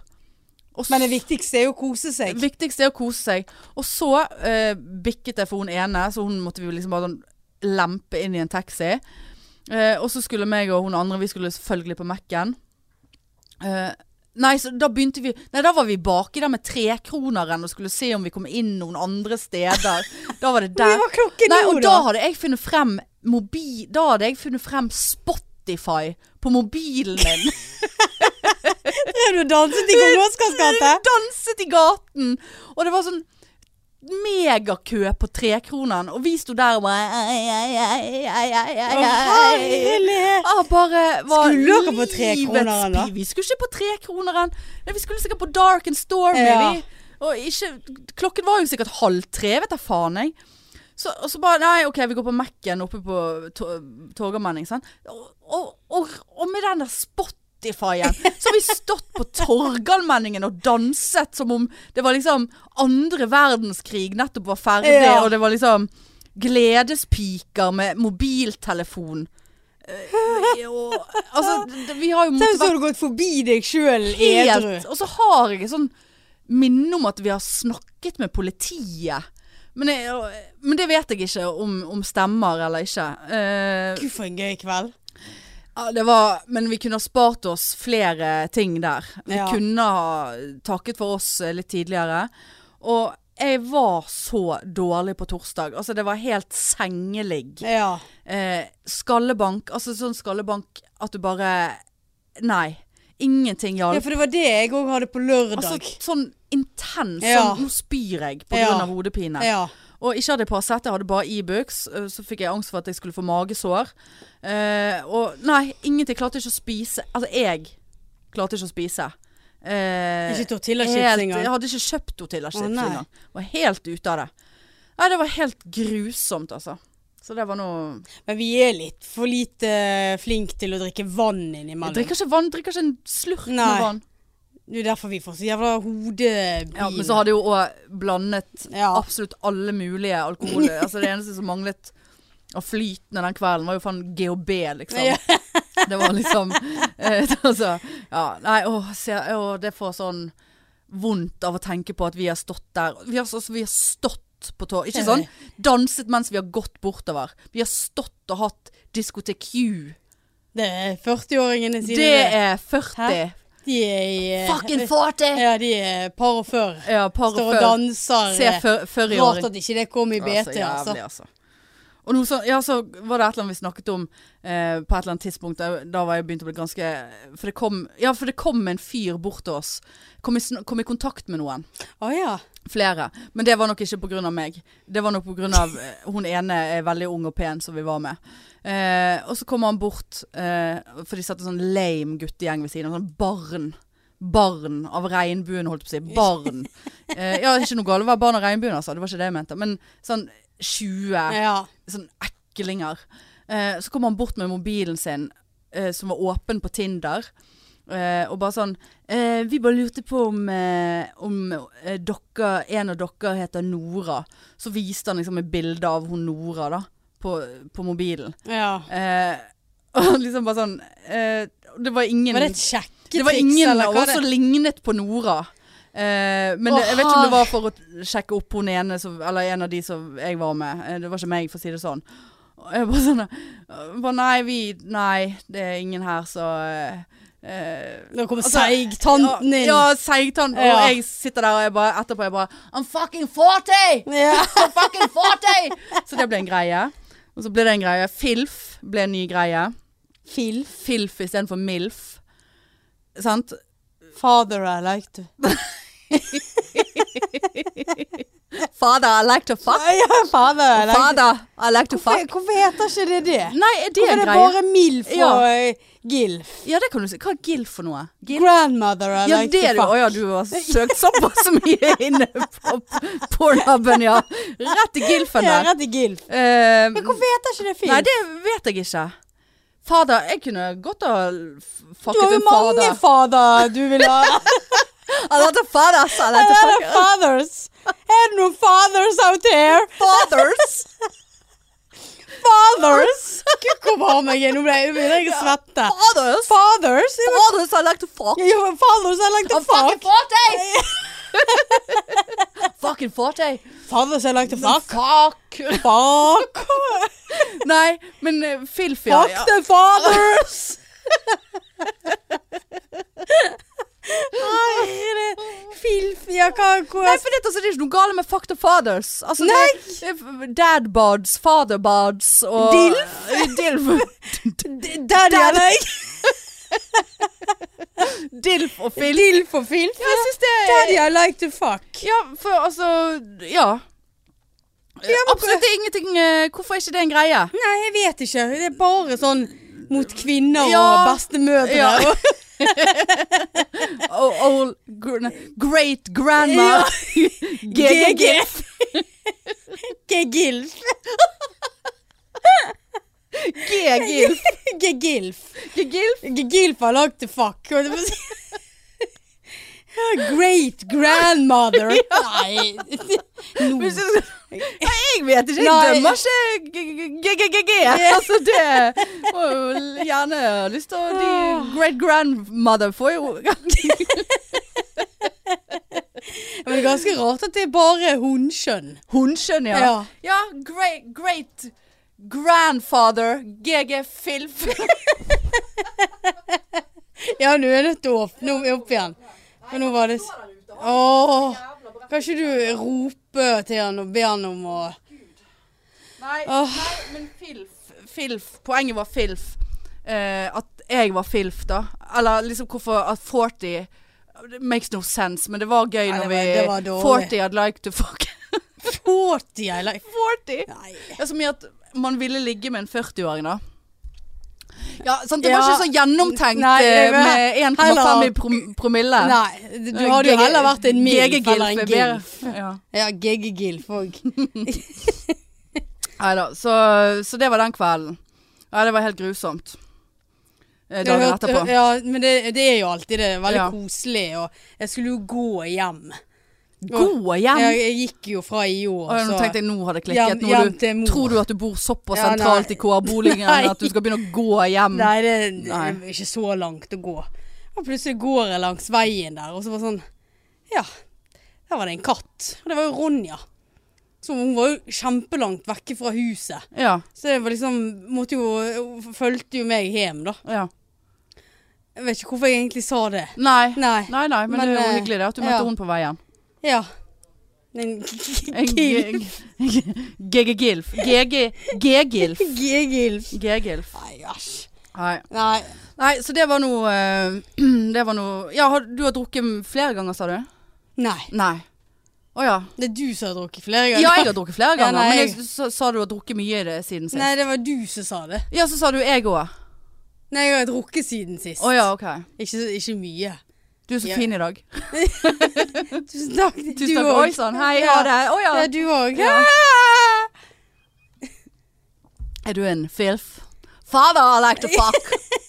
Og
Men det
så-
viktigste er jo å kose seg.
viktigste er å kose seg. Og så eh, bikket det for hun ene, så hun måtte vi jo liksom bare sånn lempe inn i en taxi. Eh, og så skulle meg og hun andre, vi skulle selvfølgelig på Mac-en. Eh, nei, så da begynte vi Nei, da var vi baki der med trekroneren og skulle se om vi kom inn noen andre steder. Da var det
Hvor
der.
var klokken
Nei,
nå,
og da
da?
hadde jeg funnet frem mobi, Da hadde jeg funnet frem Spotify på mobilen min.
Drev du og danset i Kong Oscars gate?
Danset i gaten! Og det var sånn megakø på trekronen, og vi sto der og bare ei, ei, ei, ei, ei,
Å,
ei, ei, ei.
herlighet.
Ah, bare var
Skulle dere på
livets
Trekroneren, da?
pi- Vi skulle ikke på trekroneren. Nei, vi skulle sikkert på Dark and Stormy.
Ja.
Vi. Og ikke, klokken var jo sikkert halv tre, vet jeg faen jeg. Så, og så bare Nei, OK, vi går på Mac-en oppe på to- Torgallmenning, sant. Og, og, og, og med den der Spotify-en, så har vi stått på Torgallmenningen og danset som om det var liksom andre verdenskrig nettopp var ferdig,
Ja.
og det var liksom gledespiker med mobiltelefon. *laughs* Eh, og, altså, d- vi har jo
Tenk
måttet
så
være
har du gått forbi deg sjøl edru.
helt Og så har jeg et sånn minne om at vi har snakket med politiet. Men, jeg, og- men det vet jeg ikke om, om stemmer eller ikke. Eh,
Gud, for en gøy kveld.
ja, det var, men vi kunne ha spart oss flere ting der. Vi
Ja.
kunne ha takket for oss eh, litt tidligere. Og jeg var så dårlig på torsdag. Altså, det var helt sengeligg
Ja.
eh, skallebank, altså sånn skallebank at du bare Nei. Ingenting
ja,
hjalp.
for det var det jeg òg hadde på lørdag.
Altså sånn intens
Ja.
sånn Nå spyr jeg pga.
Ja.
av hodepine.
ja.
Og ikke hadde jeg Paracet, jeg hadde bare Ibux. eh, Så fikk jeg angst for at jeg skulle få magesår. Eh, og nei, ingenting. Jeg Klarte ikke å spise. Altså, jeg klarte ikke å spise. Eh,
Ikke tortillachips
helt-
engang.
Jeg hadde ikke kjøpt tortillachips
Å, nei.
engang. Var helt ute av det. Nei, det var helt grusomt, altså. Så det var noe
Men vi er litt for lite flinke til å drikke vann innimellom.
Jeg drikker ikke vann, drikker ikke en slurk
Nei.
med vann.
Det er jo derfor vi får så jævla hodepine.
Ja, men så hadde jo òg blandet
Ja.
absolutt alle mulige alkoholer. altså det eneste som manglet av flytende den kvelden, var jo faen GHB, liksom.
Ja.
*laughs* Det var liksom eh, *laughs* altså, ja, Nei, åh, se, åh, det får sånn vondt av å tenke på at vi har stått der. Vi har, altså, vi har stått på tå. Ikke
*laughs*
sånn danset mens vi har gått bortover. Vi har stått og hatt diskotek Q.
Det er 40-åringene sine.
Det er 40.
De er i eh,
Fucking 40!
Ja, de er par og før.
Ja, par og
Står og
før.
danser.
Se
eh,
før-
Rart
førriåring.
at ikke det kom i BT,
Ja, så
altså.
jævlig, altså. Og noe sånn- ja, så var det et eller annet vi snakket om eh, på et eller annet tidspunkt. Da, da var jeg begynt å bli ganske For det kom, ja, for det kom en fyr bort til oss. Kom i, sn- kom i kontakt med noen.
Å ja.
Flere. Men det var nok ikke pga. meg. Det var nok pga. eh, hun ene er veldig ung og pen som vi var med. Eh, og så kommer han bort, eh, for de satt en sånn lame guttegjeng ved siden av. Sånn barn. Barn av regnbuen, holdt jeg på å si. Barn. Eh, ja, ikke noe galt å være barn av regnbuen, altså. Det var ikke det jeg mente. Men sånn 20
ja.
sånn eklinger. Eh, så kom han bort med mobilen sin, eh, som var åpen på Tinder. Eh, og bare sånn eh, Vi bare lurte på om, eh, om eh, dere, en av dere heter Nora. Så viste han liksom et bilde av hun Nora, da. På, på mobilen.
ja.
Eh, *laughs* og liksom bare sånn eh, Det var ingen
Var det et sjekketriks?
det var ingen
eller
av
hva
oss som
det-
lignet på Nora. Eh, men
Å,
det, jeg vet ikke om det
herre.
var for å sjekke opp hun ene som, Eller en av de som jeg var med. Eh, Det var ikke meg, for å si det sånn. Og jeg bare sånn eh, bare, Nei, vi Nei, det er ingen her som eh, eh,
Nå kommer
Altså,
seigtanten inn.
Ja, ja seigtanten.
Ja.
Og jeg sitter der, og jeg bare, etterpå jeg bare I'm fucking 40!
Ja.
I'm fucking 40! Så det ble en greie. Og så ble det en greie. Filf ble en ny greie.
Filf.
Filf istedenfor MILF. Sant?
Father I like to
Father, I like to fuck.
Ja, father I like to
Father, I like to
Hvorfor,
fuck.
hvorfor heter ikke det det?
Nei, er det en
Hvorfor er det
greie?
bare MILF og
Ja.
eh, GILF?
Ja, det kan du si. Hva er GILF for noe? GILF?
Grandmother I
Ja,
like
det er du.
to
Å
fuck.
ja, du har søkt såpass *laughs* mye inne på pornhuben, ja. Rett til GILF-en
Ja,
der.
rett i GILF.
Eh,
Men hvorfor heter ikke det film?
nei, det vet jeg ikke. Fader, jeg kunne godt ha f-
du har
fucket
jo
en
mange
fader.
fader du vil *laughs* ha.
I like to father, I like to
Her er det
fuck
fathers. Er det noen fathers out there?
fathers.
Fathers! *laughs* Gud, Kom av meg, nå ble jeg nå begynner jeg å svette.
Fathers.
Fathers? Ja,
Fathers, I like to fuck.
men- ja, Fathers I like to
I'm fucking
fuck.
40!
*laughs*
fucking 40.
Fathers I like to fuck.
Fuck.
Fuck.
Nei, men eh, Filf, ja.
Fuck
ja.
the fathers! Herre Filf, ja, hva
Nei,
hvordan-
for det, altså, det er ikke noe galt med fuck the fathers. Altså, det- det er dad bods, father bods og
Dilf?
Dilf.
Daddy I
Daddy.
like
Dilf og filf.
Dilf og filf.
Ja, jeg syns det
Daddy I like to fuck.
Ja, for altså Ja.
men-
Absolutt ingenting eh, Hvorfor er ikke det en greie?
Nei, jeg vet ikke. Det er bare sånn mot kvinner
Ja.
og bestemødre.
Ja. Oh, old gr- great grandma.
Ja. GG. Gegilf.
GG.
Gegilf.
Gilf.
Gegilf har lagt til fuck. Og det var så- Great grandmother.
*laughs*
Nei.
Hvis
No.
du skal- *laughs* Nei, jeg vet ikke. Jeg
Mm. Nei.
dømmer ikke GGGG. Altså, det må jo gjerne ha lyst til å De great grandmother får jo
*laughs* Men det er ganske rart at det er bare hundskjønn.
Hun skjønner, ja.
Ja.
Ja, great, great grandfather GG
*laughs*
Filf.
Ja, nå er det opp, nå er vi opp igjen. Men nå var det s- Åh. Kan ikke du rope til han og be han om å
Nei,
Åh.
nei, men Filf, Filf. Poenget var Filf. Eh, at jeg var Filf, da. Eller liksom hvorfor at 40 It makes no sense, men det var gøy
Nei,
når
det var- det var
vi
dårlig.
40 I'd like to fuck *laughs*
40, I like
40?
Nei.
Ja, så mye at man ville ligge med en 40-åring, da. Ja, sant? Det
Ja.
var ikke så gjennomtenkt
Nei, jeg
eh,
vet.
med 1,5 i prom promille. Eh,
Nei, du du hadde jo heller vært en MILF eller en GILF.
Ja.
Ja, GG-GILF òg.
Nei da, så, så det var den kvelden. Ja, det var helt grusomt. eh,
Jeg
dagen
hørte-
etterpå.
Ja, men det, det er jo alltid det. Veldig
Ja.
koselig. Og jeg skulle jo gå hjem.
Gå hjem!
Jeg, jeg gikk jo fra i år,
Å, ja, nå tenkte jeg nå har det klikket.
Hjem-
Nå
hjem
har
til
du,
mor.
tror du at du bor såpass
Ja, nei.
sentralt i
*laughs* Nei.
KR-boligen at du skal begynne å gå hjem?
Nei, det det
Nei.
er ikke så langt å gå. Og plutselig går jeg langs veien der, og så var det sånn Ja, der var det en katt. Og det var jo Ronja. Så hun var jo kjempelangt vekke fra huset.
Ja,
Så det var liksom måtte jo, Hun fulgte jo meg hjem, da.
ja.
Jeg vet ikke hvorfor jeg egentlig sa det.
Nei.
Nei.
Nei, nei, men,
Men,
det er jo
eh,
hyggelig det at du møtte
ja.
henne på veien.
Ja. *laughs* En gilf.
GG-Gilf. GG-Gilf.
Gilf.
G-Gilf.
Nei, æsj.
Nei.
Nei.
nei, så det var noe eh, Det var noe Ja, har, du har drukket flere ganger, sa du?
Nei.
Nei. Å ja.
Det er du som har drukket flere
Ja,
ganger.
jeg har drukket flere
Ja,
ganger,
nei,
men
jeg-
jeg, så, sa du har drukket mye i det siden sist.
Nei, det var du som sa det.
Ja, så sa du jeg òg.
Nei, jeg har drukket siden sist.
Å ja, OK.
ikke, ikke mye.
Du er så
Ja.
fin i dag.
Tusen takk.
Tusen takk.
også.
Oi sann, hei, ha det. Å ja.
Ja, du òg. Ja.
Er du en filf? Father, I like to fuck.
*laughs*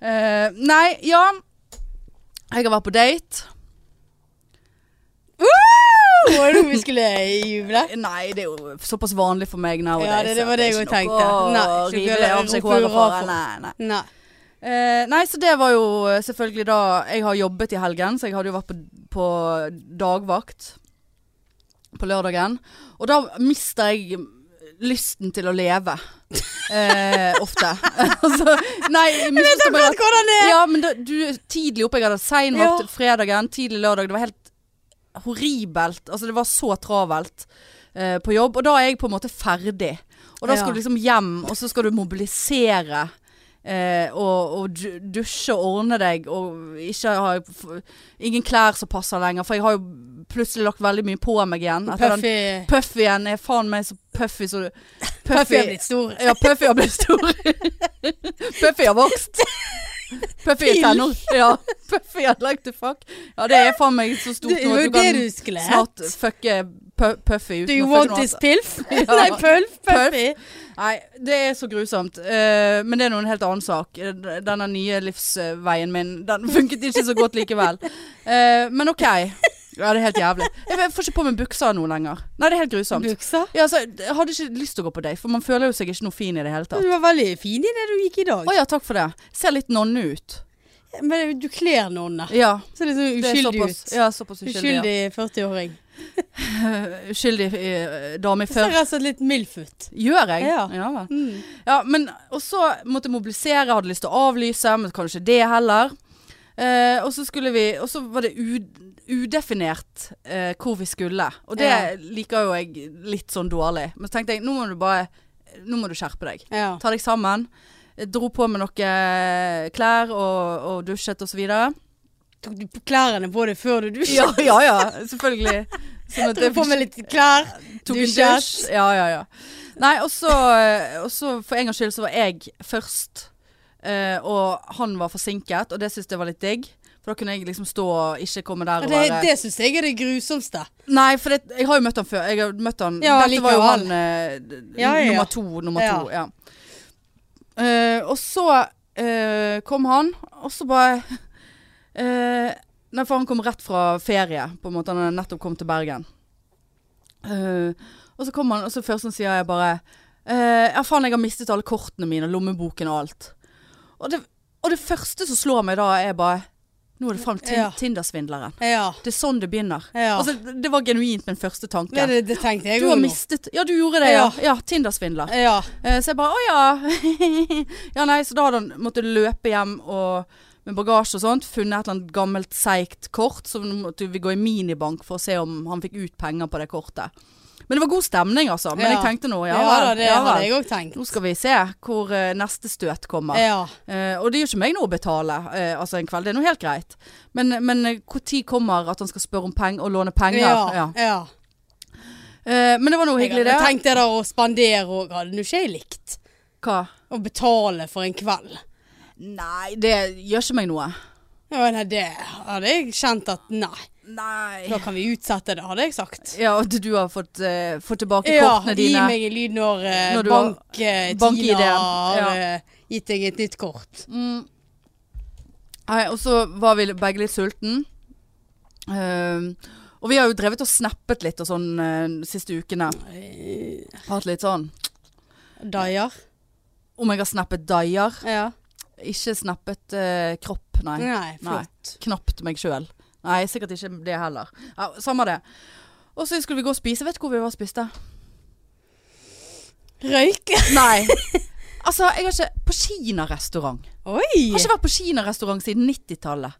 Eh, nei, ja. Jeg har vært på date.
Var det noe vi skulle juble?
Nei, det er jo såpass vanlig for meg nowadays.
Ja, det- det var
at
det
er
jeg
ikke
også
noe
tenkte. Nei,
å
ikke
rive
noe
av seg
rope
håret
hurra
for.
for.
Nei, nei.
Nei.
Eh, nei, så det var jo eh, selvfølgelig da Jeg har jobbet i helgen, så jeg hadde jo vært på, på dagvakt på lørdagen. Og da mister jeg lysten til å leve. Eh, ofte. *laughs* altså, nei, misforstå meg rett.
hvordan *laughs* det
Ja, men da, du er tidlig oppe. Jeg hadde seinvakt
Ja.
fredagen, tidlig lørdag. Det var helt horribelt. Altså, det var så travelt eh, på jobb. Og da er jeg på en måte ferdig. Og da
Ja.
skal du liksom hjem, og så skal du mobilisere. Eh, og, og du- dusje og ordne deg, og ikke ha f- ingen klær som passer lenger. For jeg har jo plutselig lagt veldig mye på meg igjen. Etter den
Puffy
puffyen er faen meg så puffy så
Puffy er blitt stor.
ja, Puffy har blitt stor.
*laughs*
Puffy har vokst. Puffy er
Pill.
tenår. Ja, Puffy har like to fuck. Ja, det er faen meg så stort
Det
nå
var jo
at du
det
kan
du skulle
snart
hett.
fucke pu- Puffy uten
Do you
å
want
fucke noe
this
annet.
pilf?
altså- *laughs* Ja.
Nei, pølf.
Pølf.
Puffy.
Nei, det er så grusomt. Eh, men det er nå en helt annen sak. Eh, Denne nye livsveien min, den funket ikke så godt
*laughs*
likevel. Eh, men OK. Ja, det er helt jævlig. Jeg får ikke på meg buksa nå lenger. Nei, det er helt grusomt.
Buksa.
Ja, altså, jeg hadde ikke lyst til å gå på date, for man føler jo seg ikke noe fin i det hele tatt.
Du var veldig fin i det du gikk i dag.
Å ja, takk for det. Ser litt nonne ut.
Men du kler noen der.
Ja,
Ser litt
det
sånn
er
uskyldig
såpass,
ut.
Ja, såpass uskyldig.
Uskyldig 40-åring.
Uskyldig, uskyldig eh, dame i
Ser
før.
rett og slett litt mild ut.
Gjør jeg?
Ja.
vel.
Mm.
ja men Og så måtte jeg mobilisere, hadde lyst til å avlyse, men kanskje det heller. Eh, og så skulle vi Og så var det u, udefinert eh, hvor vi skulle. Og det
Ja.
liker jo jeg litt sånn dårlig. Men så tenkte jeg nå må du bare Nå må du skjerpe deg.
Ja.
Ta deg sammen. Jeg dro på med noe eh, klær og, og dusjet og så videre.
Tok du på klærne på deg før du dusjet?
*laughs* Ja, ja, ja, selvfølgelig. Sånn at
Tok på med litt klær?
tok en
dusjet.
dusj. Ja, ja, ja. Nei, og så, og så for en gangs skyld så var jeg først, eh, og han var forsinket, og det syntes jeg var litt digg. For da kunne jeg liksom stå og ikke komme der
Ja,
og
Det,
være
det syns jeg er det grusomste.
Nei, for det, jeg har jo møtt han før. Jeg har møtt han
Ja,
Dette var jo
likevel.
han eh, d-
Ja, ja, ja.
nummer to. Nummer to ja. Eh, og så eh, kom han, og så bare *laughs* eh, Nei, for han kom rett fra ferie, på en måte. Han hadde nettopp kommet til Bergen. Eh, og så kom han, og så først han sier jeg bare eh, Ja, faen, jeg har mistet alle kortene mine, og lommeboken og alt. Og det, og det første som slår meg da, er bare Nå er det faen Tin-
Ja.
Tinder-svindleren.
Ja.
Det er sånn det begynner.
Ja.
Altså, det var genuint min første tanke.
Det, det, det tenkte jeg
du har
også nå.
mistet Ja, du gjorde det, ja.
Ja.
ja Tinder-svindler.
Ja.
Eh, så jeg bare å ja. *laughs* ja, nei, så da hadde han måttet løpe hjem og med bagasje og sånt. Funnet et eller annet gammelt, seigt kort. Så nå måtte vi gå i minibank for å se om han fikk ut penger på det kortet. Men det var god stemning, altså. Men
Ja.
jeg tenkte nå, ja,
Ja,
vel,
da, det
ja
hadde
vel.
jeg òg tenkt.
Nå skal vi se hvor eh, neste støt kommer.
Ja.
Eh, og det gjør ikke meg noe å betale eh, altså en kveld, det er noe helt greit. Men når kommer at han skal spørre om penger og låne penger?
Ja.
Ja.
ja.
Eh, men det var noe hyggelig, det.
Jeg tenkte da å spandere òg. Hadde nå ikke jeg likt
Hva?
å betale for en kveld.
Nei, det gjør ikke meg noe.
Ja, nei, det hadde jeg kjent at nei,
Nei.
da kan vi utsette det, hadde jeg sagt.
Ja, at du har fått, eh, fått tilbake
Ja,
kortene
gi
dine.
meg en lyd når, eh,
Når du har-
bank, eh,
bank-ID,
Tina
ja.
har eh, gitt deg et nytt kort.
Mm. Nei, og så var vi begge litt sulten. Ehm, og vi har jo drevet og snappet litt og sånn eh, de siste ukene. Hatt litt sånn
Eh, Dyer.
Om jeg har snappet daier.
Ja.
Ikke snappet eh, kropp, nei.
Nei, flott.
Knapt meg sjøl. Nei, sikkert ikke det heller. Ja, samme det. Og så skulle vi gå og spise. Vet du hvor vi var og spiste?
Røyk.
Nei. *laughs* Altså, jeg har ikke På kinarestaurant.
Oi!
Jeg har ikke vært på kinarestaurant siden 90-tallet.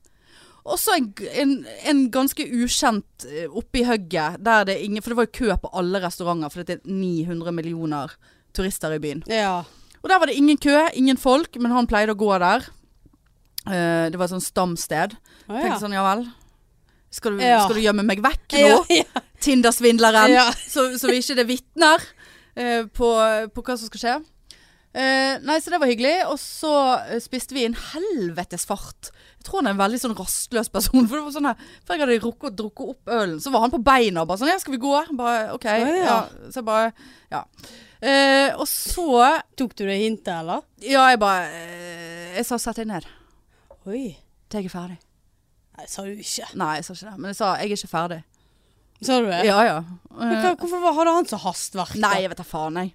Også en, g- en, en ganske ukjent eh, oppe i hugget, der det ingen For det var jo kø på alle restauranter, for det er 900 millioner turister i byen.
Ja.
Og der var det ingen kø, ingen folk, men han pleide å gå der. Eh, det var et sånt stamsted.
Å, ja.
Tenkte sånn, ja vel. Skal du,
Ja.
skal du gjemme meg vekk nå?
Ja,
Tinder-svindleren.
Ja.
Så, så vi ikke det vitner eh, på, på hva som skal skje. Eh, nei, så det var hyggelig. Og så eh, spiste vi en helvetes fart. Jeg tror han er en veldig sånn rastløs person. For det var sånn her, Før jeg hadde rukket å drukke opp ølen, så var han på beina og bare sånn Ja, skal vi gå? Bare OK.
Å, ja.
ja. Så jeg bare Ja. Eh, og så
ja. Tok du det hintet, eller?
Ja, jeg bare eh, Jeg sa sett deg ned.
Oi.
Til jeg er ferdig.
Nei, sa du ikke.
Nei, jeg sa ikke det. Men jeg sa jeg er ikke ferdig.
Sa du det?
Ja ja.
Men
Eh,
hva, hvorfor var- hadde han så hastverk? da?
Nei, jeg vet da faen, jeg.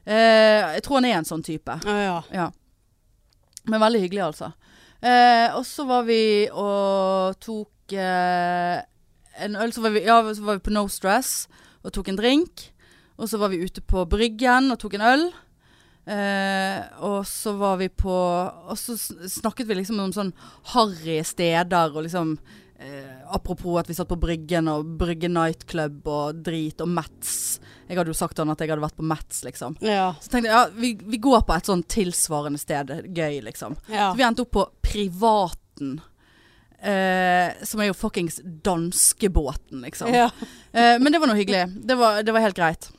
Eh, jeg tror han er en sånn type.
Å, ja.
Ja. Men veldig hyggelig, altså. Eh, og så var vi og tok eh, en øl. Så var, vi, ja, så var vi på No Stress og tok en drink. Og så var vi ute på Bryggen og tok en øl. Eh, og så var vi på Og så sn- snakket vi liksom om sånn harry steder og liksom eh, Apropos at vi satt på Bryggen og Brygge nightclub og drit og Mats. Jeg hadde jo sagt til han at jeg hadde vært på Mats, liksom.
Ja.
Så tenkte jeg, ja, vi, vi går på et sånn tilsvarende sted, gøy liksom.
ja.
Så vi endte opp på Privaten, eh, som er jo fuckings danskebåten liksom.
ja.
Eh, men det var noe hyggelig, det var, det var helt greit.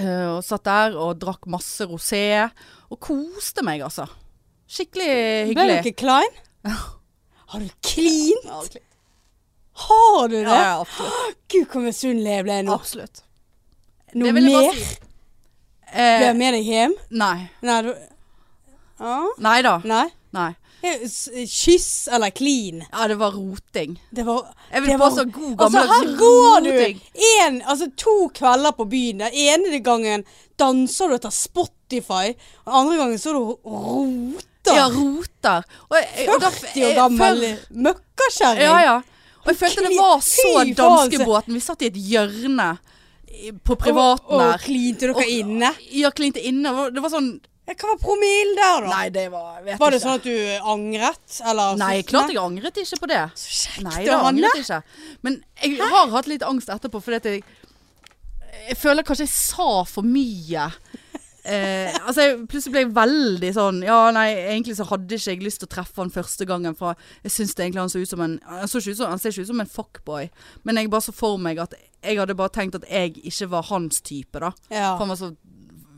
Eh, og satt der og drakk masse rosé, og koste meg altså. Skikkelig
Ble du
hyggelig.
ikke
*laughs*
klein? Har du klint?
Ja, det-
Har du det?
Ja, ja, absolutt.
Gud, hvor misunnelig jeg ble nå.
absolutt.
Noe
vil jeg bare
mer?
si.
Ble jeg
Eh,
med deg hjem?
nei.
Nei, du ah?
Nei da.
Nei?
Nei.
S- Kyss eller klin?
Ja, det var roting.
Det var
Jeg vil
det var-
påstå god
Altså,
gammel
her går du!
roting.
En, altså, to kvelder på byen. Den ene gangen danser du etter Spotify, og den andre gangen så er du roter.
Ja, roter. Og jeg- og da-
40 år
jeg-
gammel
før-
møkkakjerring.
Ja, ja. Og jeg følte det var så
Fy faen, så-
danskebåten. Vi satt i et hjørne i- på privaten
Og,
der.
og klinte dere inne.
Ja, klinte inne. Og Det var sånn
Ja, Hva var promillen der, da?
Nei, det var vet
var det
ikke.
sånn at du angret? Eller,
Nei, klart jeg angret ikke på det.
Så kjekt
Nei, det
å ha
angret
nett.
jeg ikke. Men jeg har hatt litt angst etterpå, fordi at jeg Jeg føler kanskje jeg sa for mye. Eh, altså jeg, Plutselig ble jeg veldig sånn Ja, nei, egentlig så hadde ikke jeg lyst til å treffe han første gangen. Fra, jeg syns det egentlig han så ut som en Han, så ikke ut som, han ser ikke ut som en fuckboy. Men jeg bare så for meg at jeg hadde bare tenkt at jeg ikke var hans type, da.
Ja.
For han var så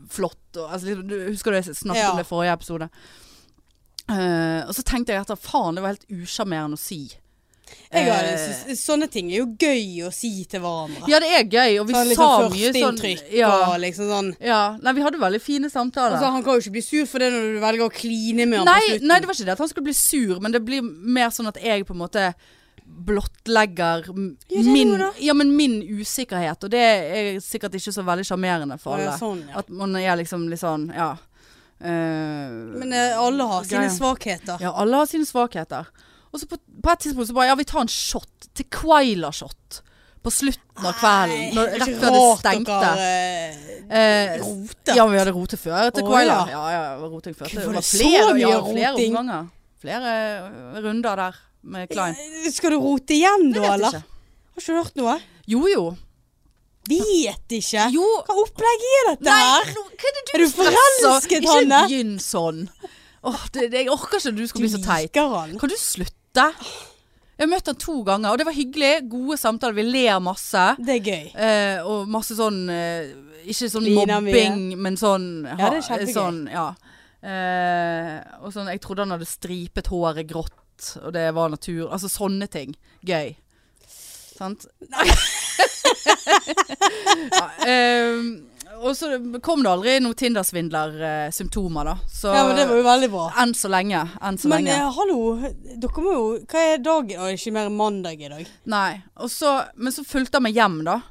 flott og altså, liksom, du- Husker du jeg snakket
Ja.
om det i forrige episode? Eh, og så tenkte jeg etter faen, det var helt usjarmerende å si.
Jeg har,
Eh,
synes- sånne ting er jo gøy å si til hverandre.
ja, det er gøy, og vi
sånn,
sa
liksom
mye sånn
Førsteinntrykk
ja,
og liksom sånn.
ja. Nei, vi hadde veldig fine samtaler.
Altså, han kan jo ikke bli sur for det når du velger å kline med han på
nei,
slutten.
nei, det var ikke det at han skulle bli sur, men det blir mer sånn at jeg på en måte blottlegger m-
Ja, det er
min,
jo det.
ja, men min usikkerhet, og det er sikkert ikke så veldig sjarmerende for
Å, ja,
alle.
sånn, ja.
At man er liksom litt sånn, ja. eh,
Men eh, alle har sine
Greier.
svakheter.
Ja, alle har sine svakheter. Og så på, på et tidspunkt så bare Ja, vi tar en shot. Tequila-shot. På slutten av kvelden. Når, rett før det stengte.
stengte.
Eh,
rotet.
Ja, men vi hadde rotet før Tequila.
Å, ja.
ja. ja, det var roting før.
Gud,
Det var
var det så
flere, ja,
mye
flere
roting?
omganger. Flere eh, runder der med Klein.
eh, Skal du rote igjen
Jeg
da,
vet
eller?
ikke.
Har ikke du hørt noe?
Jo jo.
Vet ikke.
Jo.
Hva opplegg er dette her?
nå- hva er det
Er du
stresser?
forelsket, Hanne?
Ikke begynn sånn. Åh, det, det, jeg orker ikke at du skal bli så teit.
liker han.
Kan du slutte? Jeg har møtt han to ganger, og det var hyggelig. Gode samtaler. Vi ler masse.
Det er gøy.
Eh, og masse sånn eh, Ikke sånn
Lina mye.
mobbing, men sånn ha-
det er kjempegøy.
Sånn, ja. Eh, og sånn Jeg trodde han hadde stripet håret grått, og det var natur. Altså sånne ting. Gøy. *laughs* Sant? ja, eh, og så kom det aldri noen Tinder-svindler-symptomer, da. Så
Ja, men det var jo veldig bra.
enn så lenge. Enn så
Men
lenge.
eh, hallo, dere må jo Hva er dagen? Å, det er ikke mer mandag i dag.
Nei, og så, men så fulgte han meg hjem da.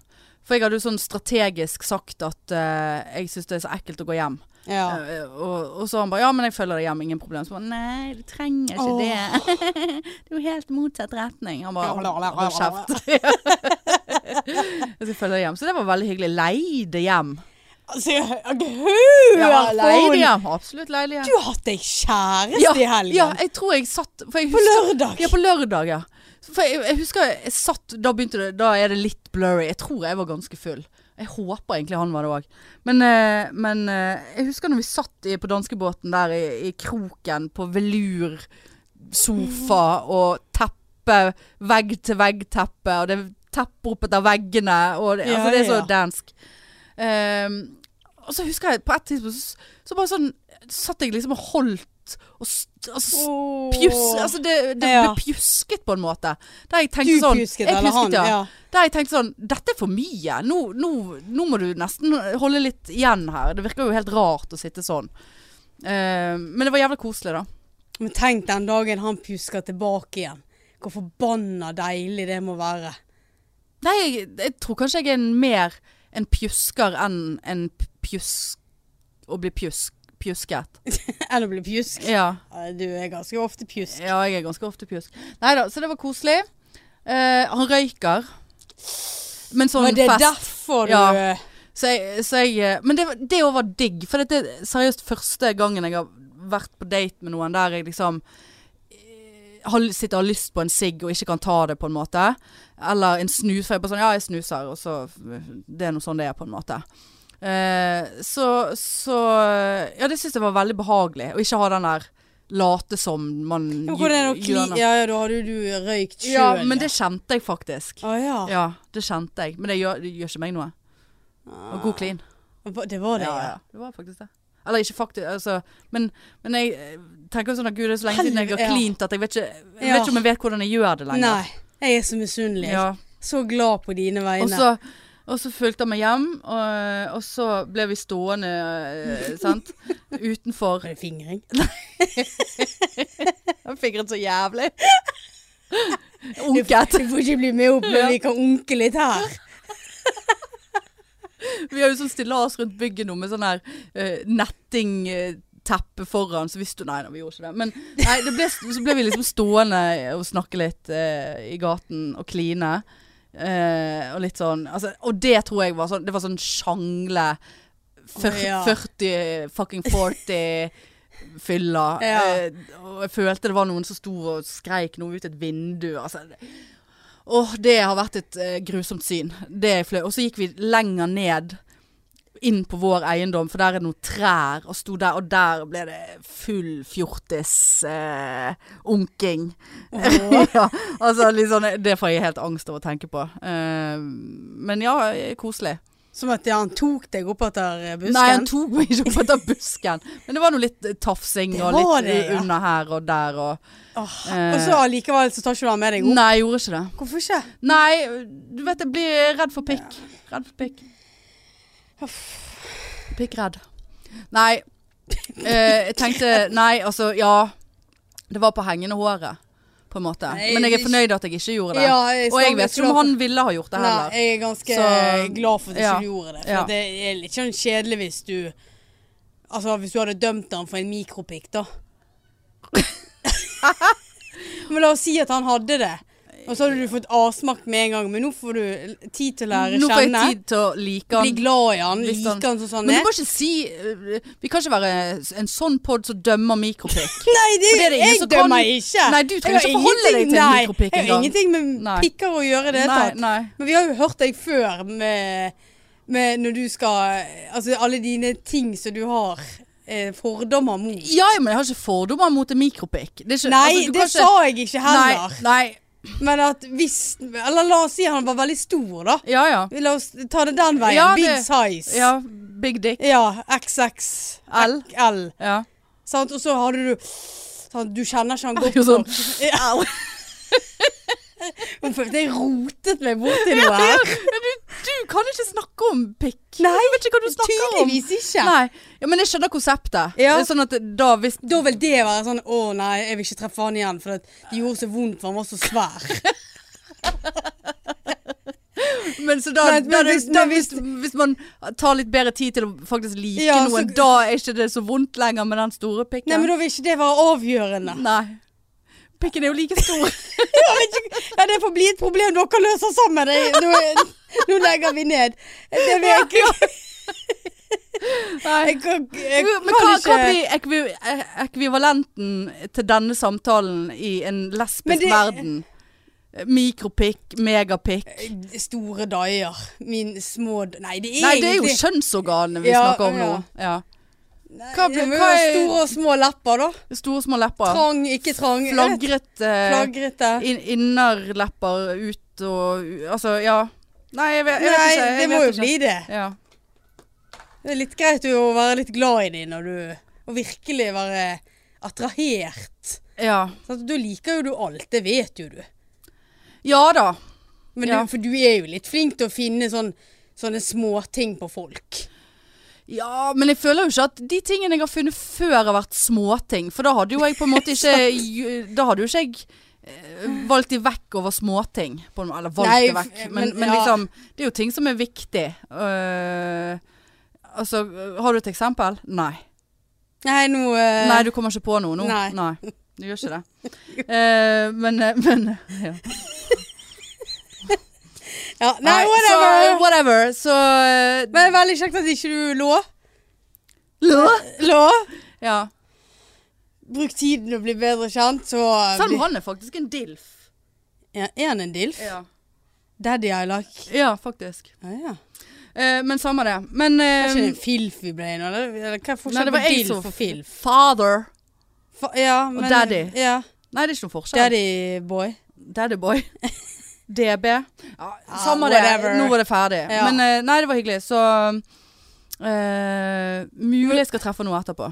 For jeg hadde jo sånn strategisk sagt at eh, jeg synes det er så ekkelt å gå hjem.
Ja.
Eh, og, og så han bare, ja, men jeg følger deg hjem, ingen problem. Så bare, nei, du trenger ikke
Åh.
det. det *laughs* er jo helt motsatt retning. Han bare,
Ja,
hold,
ja, ja,
hold
ja, ja.
kjeft. *laughs* jeg skal følge deg hjem. Så det var veldig hyggelig. Leide hjem.
Altså, jeg hører
Ja, leide
på henne.
hjem. Absolutt leide
Du
hjem.
har hatt deg kjæreste
Ja,
i helgen.
ja, jeg tror jeg satt, for jeg
på
husker
lørdag.
Ja, på lørdag, ja. For jeg, jeg husker jeg satt Da begynte det Da er det litt blurry. Jeg tror jeg var ganske full. Jeg håper egentlig han var det òg. Men, eh, men eh, jeg husker når vi satt i, på danskebåten der i, i kroken på velur sofa
Mm.
og teppe, vegg-til-vegg-teppe, og det er teppe opp etter veggene, og det,
Ja,
altså, det er så
ja.
dansk. Ehm, og så husker jeg på et tidspunkt så, så bare sånn satt jeg liksom og holdt og st altså,
Åh.
pjus, altså det, det
Ja.
ble pjusket på en måte. Der jeg
du
tenkte sånn,
pjusket,
jeg
eller han?
pjusket,
Ja.
ja. Der jeg tenkte sånn, dette er for mye. Nå, nå, nå må du nesten holde litt igjen her. Det virker jo helt rart å sitte sånn. Eh, men det var jævlig koselig da.
Men tenk den dagen han pjusker tilbake igjen. Hvor forbanna deilig det må være. *laughs*
Nei, jeg, jeg tror kanskje jeg er en mer en pjusker enn en p- pjusk... Å bli pjusk,
*laughs*
pjusket.
Enn å bli pjusk.
Ja.
Eh, Du er ganske ofte pjusk.
Ja, jeg er ganske ofte pjusk. Nei da, så det var koselig. Eh, han røyker. Men sånn
Men det er
fest.
derfor du eh,
Ja. Så jeg, så jeg, eh, men det, var- det også var digg. For det er seriøst første gangen jeg har vært på date med noen der jeg liksom eh, har, sitter og har lyst på en sigg og ikke kan ta det, på en måte. Eller en snus. For jeg er bare sånn Ja, jeg snuser, og så Det er nå sånn det er, på en måte. Eh, så, så Ja, det syns jeg var veldig behagelig. Å ikke ha den der late som man
Men Hvordan er det å
gjør
kli...
noe.
Ja, ja, da hadde du røykt sjøl.
Ja, men det kjente jeg faktisk.
Å ja.
Ja, det kjente jeg. Men det gjør, det gjør ikke meg noe. Det
Ah.
var god clean.
Det var det,
Ja,
ja.
ja. Det var faktisk det. Eller ikke faktisk, altså. Men, men jeg eh, tenker sånn at gud, det er så lenge siden jeg har
Helvete, ja.
cleant at jeg vet ikke, jeg
Ja.
vet ikke om jeg vet hvordan jeg gjør det lenger.
Nei. Jeg er så misunnelig.
Ja.
Så glad på dine
Og
vegne.
så, og så fulgte han meg hjem, og, og så ble vi stående, eh,
*laughs*
sant, utenfor.
Var det
*laughs*
fingring? *laughs*
Han fingret så jævlig. Unket.
Du får ikke bli med opp, men
Ja.
vi kan unke litt her.
*laughs* Vi har jo sånn stillas rundt bygget nå med sånn her eh, netting eh, teppe foran, så vi sto Nei, nei, vi gjorde ikke det. Men nei, det ble, så ble vi liksom stående og snakke litt eh, i gaten og kline. eh, og litt sånn altså, Og det tror jeg var sånn Det var sånn sjangle fyr-
Å, ja.
40 fucking 40 fylla.
Ja.
Eh, og jeg følte det var noen som sto og skreik noe ut et vindu. Altså, Åh, det har vært et eh, grusomt syn. Det er flau. Og så gikk vi lenger ned inn på vår eiendom, for der er det noen trær, og sto der, og der ble det full fjortis-unking. *laughs* ja, altså liksom, det får jeg helt angst av å tenke på. Eh, men ja, koselig.
Som at han tok deg opp etter eh, busken.
Nei, han tok meg ikke opp etter busken. Men det var nå litt eh, tafsing,
Det
og litt
var det,
eh,
ja.
under her og der, og
Åh,
eh,
Og så allikevel så tar ikke du han med deg opp.
Nei, jeg gjorde ikke det.
Hvorfor ikke?
Nei, du vet jeg blir redd for pikk. Redd for pikk. Pikkredd. Nei. eh, jeg tenkte Nei, altså, ja. Det var på hengende håret, på en måte.
Nei,
Men jeg er
det-
fornøyd at jeg ikke gjorde det.
Ja, jeg
og jeg vet
skal-
ikke om han ville ha gjort det heller.
Nei, jeg er ganske
Så-
glad for at du
ja.
ikke gjorde det. For
Ja.
det er litt sånn kjedelig hvis du Altså hvis du hadde dømt han for en mikropikk,
*laughs*
da. Men la oss si at han hadde det. Og så hadde du fått avsmak med en gang, men nå får du tid til å lære
Nå får jeg
kjenne.
tid til å like
Bli
han.
glad i han,
Hvis
like
han-
han som sånn
Men du
er.
må ikke si eh, Vi kan ikke være en sånn pod som dømmer mikropikk.
Nei, det,
For det er det ingen
jeg
som kan-
dømmer ikke.
Nei, du trenger
Jeg har
ikke forholde deg
ingenting-
til en
nei,
mikropikk
Jeg har
engang.
ingenting med
Nei.
pikker å gjøre i *laughs* det hele
Nei,
tatt.
nei.
Men vi har jo hørt deg før med, med når du skal Altså alle dine ting som du har eh, fordommer mot.
Ja, ja, men jeg har ikke fordommer mot en mikropikk. Det er ikke,
Nei,
altså, du
det
kan ikke-
sa jeg ikke heller.
Nei, nei.
Men at hvis Eller la oss si han var veldig stor, da.
Ja, ja.
La oss ta det den veien.
Ja,
Big
det-
size.
Ja, Big dick.
Ja, XXL.
Ja.
Sant? Og så hadde du sant? Du kjenner ikke han godt
Jo, sånn.
nok. Ja. Jeg følte jeg rotet meg borti noe her.
Du kan ikke snakke om pikk.
Nei,
jeg vet ikke hva du snakker om.
Tydeligvis ikke.
Nei, ja, men jeg skjønner konseptet.
Ja.
Det er Sånn at da hvis
Da vil det være sånn Å nei, jeg vil ikke treffe han igjen, for at det gjorde så vondt, for han var så svær.
Men så da,
Nei, men
da, da,
hvis-
da
men
hvis, hvis man tar litt bedre tid til å faktisk like
Ja, så-
noen, da er ikke det så vondt lenger med den store pikken.
Nei, men da vil ikke det være avgjørende. *laughs*
Nei. Pikken er jo like stor.
Jeg vet ikke, ja, det får bli et problem dere løser sammen. Jeg- Nå, nå legger vi ned. Det vil jeg ikke.
Nei.
Jeg kan, jeg
*laughs* Jo, Men
kan
hva, hva
ikke
blir ekvi- eh, ekvivalenten til denne samtalen i en
Men
lesbisk
det-
verden? Mikropikk, megapikk
Store daier. Min små d- Nei, det er
Nei, det er jo
egentlig-
kjønnsorganene vi
Ja,
snakker om nå.
ja.
Ja.
Nei,
hva blir-
det må jo
hva
være
er-
Store og små lepper, da.
Store, små lepper.
Trang, ikke trang. jeg vet
Flagret eh,
Flagrete.
inn- innerlepper ut og u- Altså, ja. Nei, jeg vet, jeg vet
Nei,
ikke. Jeg
det
vet
må jo
ikke.
bli det.
Ja.
Det er litt greit å være litt glad i dem når du Og virkelig være attrahert.
Ja.
Sant? Da liker jo du alt, det vet jo du.
ja da.
Men
Ja.
du, for du er jo litt flink til å finne sånn, sånne småting på folk.
Ja, men jeg føler jo ikke at de tingene jeg har funnet før har vært småting. For da hadde jo jeg på en måte
*laughs*
ikke Da hadde jo ikke jeg eh, valgt de vekk over småting. på en må- Eller valgt
Nei,
de vekk.
f-
Men,
men
men
ja.
liksom, det er jo ting som er viktig. Eh, altså, har du et eksempel? Nei.
Nei, nå eh,
Nei, du kommer ikke på noe nå?
Nei.
Du gjør ikke det. Eh, men eh, men *laughs* ja.
ja, nei,
Så,
whatever.
whatever. Så eh,
Men veldig kjekt at ikke du lå. Lå.
Ja.
Bruk tiden og bli bedre kjent, så
Selv om
blir-
han er faktisk en dilf.
ja, Er han en dilf?
Ja,
Daddy I like.
ja faktisk.
Ja, ja.
Eh, men samme det. Men
Er
eh,
ikke det en filf vi ble innom? Eller
Nei,
eller hva er
det
forskjellen
var
på
jeg
dilf
som
og filf?
Father.
Fa ja, men,
daddy.
Ja.
Nei, det er ikke noen forskjell.
Daddy boy.
Daddy
*laughs*
boy. DB. Ja, Ah, samme
whatever.
det. Nå var det ferdig.
Ja.
Men eh, nei, det var hyggelig. Så eh, Mulig jeg skal treffe noe etterpå.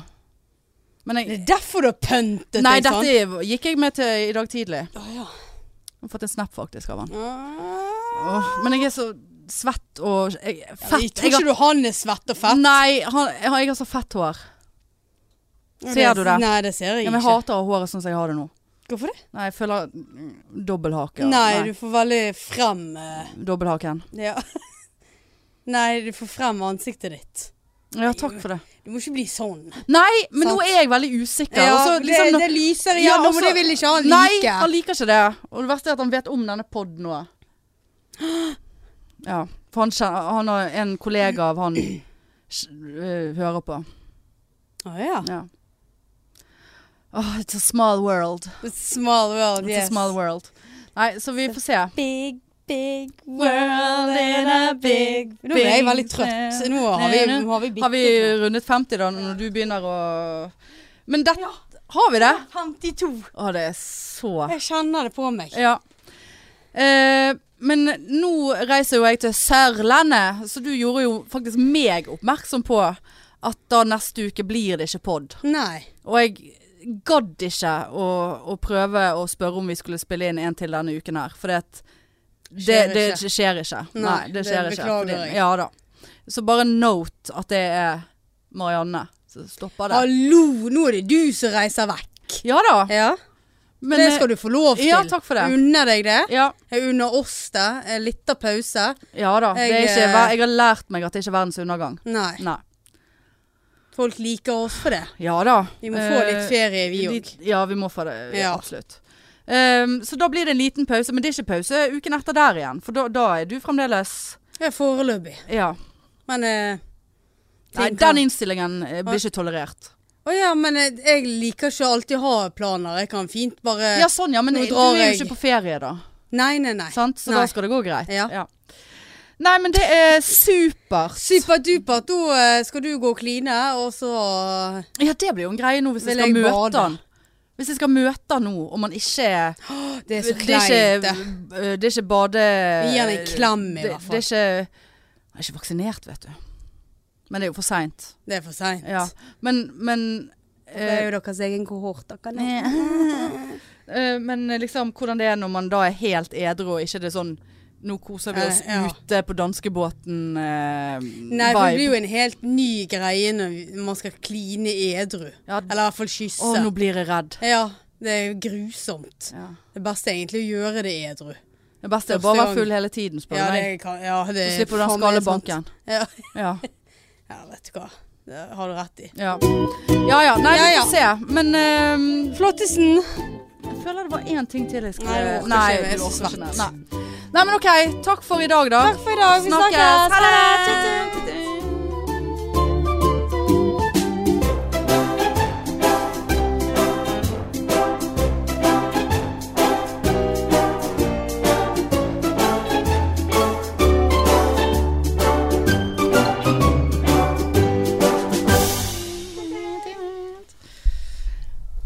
Men
Det
jeg
er derfor du har pøntet
Nei,
deg sånn.
dette gikk jeg med til i dag tidlig. Jeg
Å, ja.
har fått en snap faktisk av han.
Ah.
Åh, men jeg er så svett og jeg, fett.
Jeg tror ikke du han er svett og fett.
Nei, han, jeg, har, jeg har så fett hår.
Ja,
Ser Mm, du det?
Nei, det ser jeg
Ja,
ikke.
men jeg hater å ha håret sånn som jeg har det nå.
Hvorfor det?
Nei, jeg føler mm, dobbelthake. ja.
Nei, du får veldig frem eh,
Dobbelthaken.
Ja. *laughs* Nei, du får frem ansiktet ditt.
Ja, takk for det.
Du må ikke bli sånn.
Nei, men nå
Sant.
er jeg veldig usikker.
Ja,
og så liksom,
det, det lyser
Ja,
igjennom,
og så-
og det vil ikke han
nei,
like.
han liker ikke det. Og det verste er at han vet om denne podden nå. Ja, for han, kjenner, han har en kollega av
*clears throat*
han kj- øh, hører på.
Å ja.
Ja. Åh, it's a small world.
It's a small world,
It's
yes.
a small world. Nei, så vi får se.
Big, big
world in a big,
Nå ble jeg
big
veldig trøtt. så Nå har vi,
world.
nå har vi
Har vi
bitt
rundet 50 da, når du begynner å Men det Har vi det?
opp. 52.
Å, det er så
Jeg kjenner det på meg.
Ja. Eh, men nå reiser jo jeg til Sørlandet, så du gjorde jo faktisk meg oppmerksom på at da neste uke blir det ikke pod.
Nei.
Og jeg gadd ikke å, å prøve å spørre om vi skulle spille inn en til denne uken her, for det, det,
Skjer
det
ikke.
skjer ikke.
Nei,
Nei, det
det
skjer ikke.
beklager
fordi-
jeg.
Ja da. Så bare note at det er Marianne som stopper det.
Hallo, nå er det du som reiser vekk.
Ja da.
Ja,
Men eh,
Det skal du få lov til.
Ja, takk for det.
Unner deg det.
Ja,
Jeg unner oss det. Eh, Litt av pause.
ja da. det er
Jeg,
ikke,
eh,
ver- jeg har lært meg at det ikke er verdens undergang.
Nei.
Nei.
Folk liker oss for det.
Ja da.
Vi må få
Eh,
litt ferie, vi òg.
litt- Ja, vi må få det. eh,
Ja.
Absolutt. Ehm, så da blir det en liten pause, men det er ikke pause uken etter der igjen. For da, da er du fremdeles
Ja, foreløpig.
Ja.
Men eh,
Nei,
ting
den
kan-
innstillingen eh, blir ikke tolerert.
Å ja, men eh, jeg liker ikke alltid å ha planer. Jeg kan fint bare
Ja, sånn ja, men
Eh, nå
du
drar
er jo
jeg.
ikke på ferie da.
Nei, nei, nei.
Sant? Så
Nei.
da skal det gå greit.
Ja.
Nei, men det er supert.
Superdupert, da eh, skal du gå og kline, og så ah,
Ja, det blir jo en greie nå hvis jeg
Vil
skal
jeg
møte
bade?
han. Hvis jeg skal møte han nå, og man ikke er
Det er
Det
så
er
kleint.
ikke,
det.
eh, det er ikke bade...
Vi gir han en klem i
det,
hvert fall.
Det er ikke... Han er ikke vaksinert, vet du. Men det er jo for sent.
Det er for seint.
Ja. Men, men...
Det
eh,
er jo deres egen kohort. Dere. nå.
*laughs* Eh, Men liksom hvordan det er når man da er helt edru og ikke det er sånn nå koser vi oss
Ja, ja.
ute på danskebåten eh,
Nei, for det blir
vibe.
jo en helt ny greie når vi- man skal kline edru.
Ja,
Eller i hvert fall
å, nå
kysse.
blir jeg redd.
Ja, det er jo grusomt.
Ja.
Det beste er egentlig å gjøre det edru.
Det beste er
Første
bare å
gang.
være full hele tiden, spør du
Ja,
meg.
det kan, ja, det
Så
er
slipper du den
faen meg sant.
skallebanken.
Ja,
Ja.
ja, vet du hva. Det har du rett i.
Ja. ja ja, nei,
Ja,
vi får se. Men ehm,
Flottisen!
jeg føler det var én ting til jeg skulle
Nei, jeg orker ikke, jeg er
du
så
orker ikke
svett.
mer. Nei. nei, men OK. Takk for i dag, da.
Takk for i dag. Vi snakkes.
Ha det.
Ha det.
Tut, tut, tut.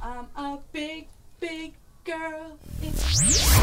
I'm a big, big girl.
mainstream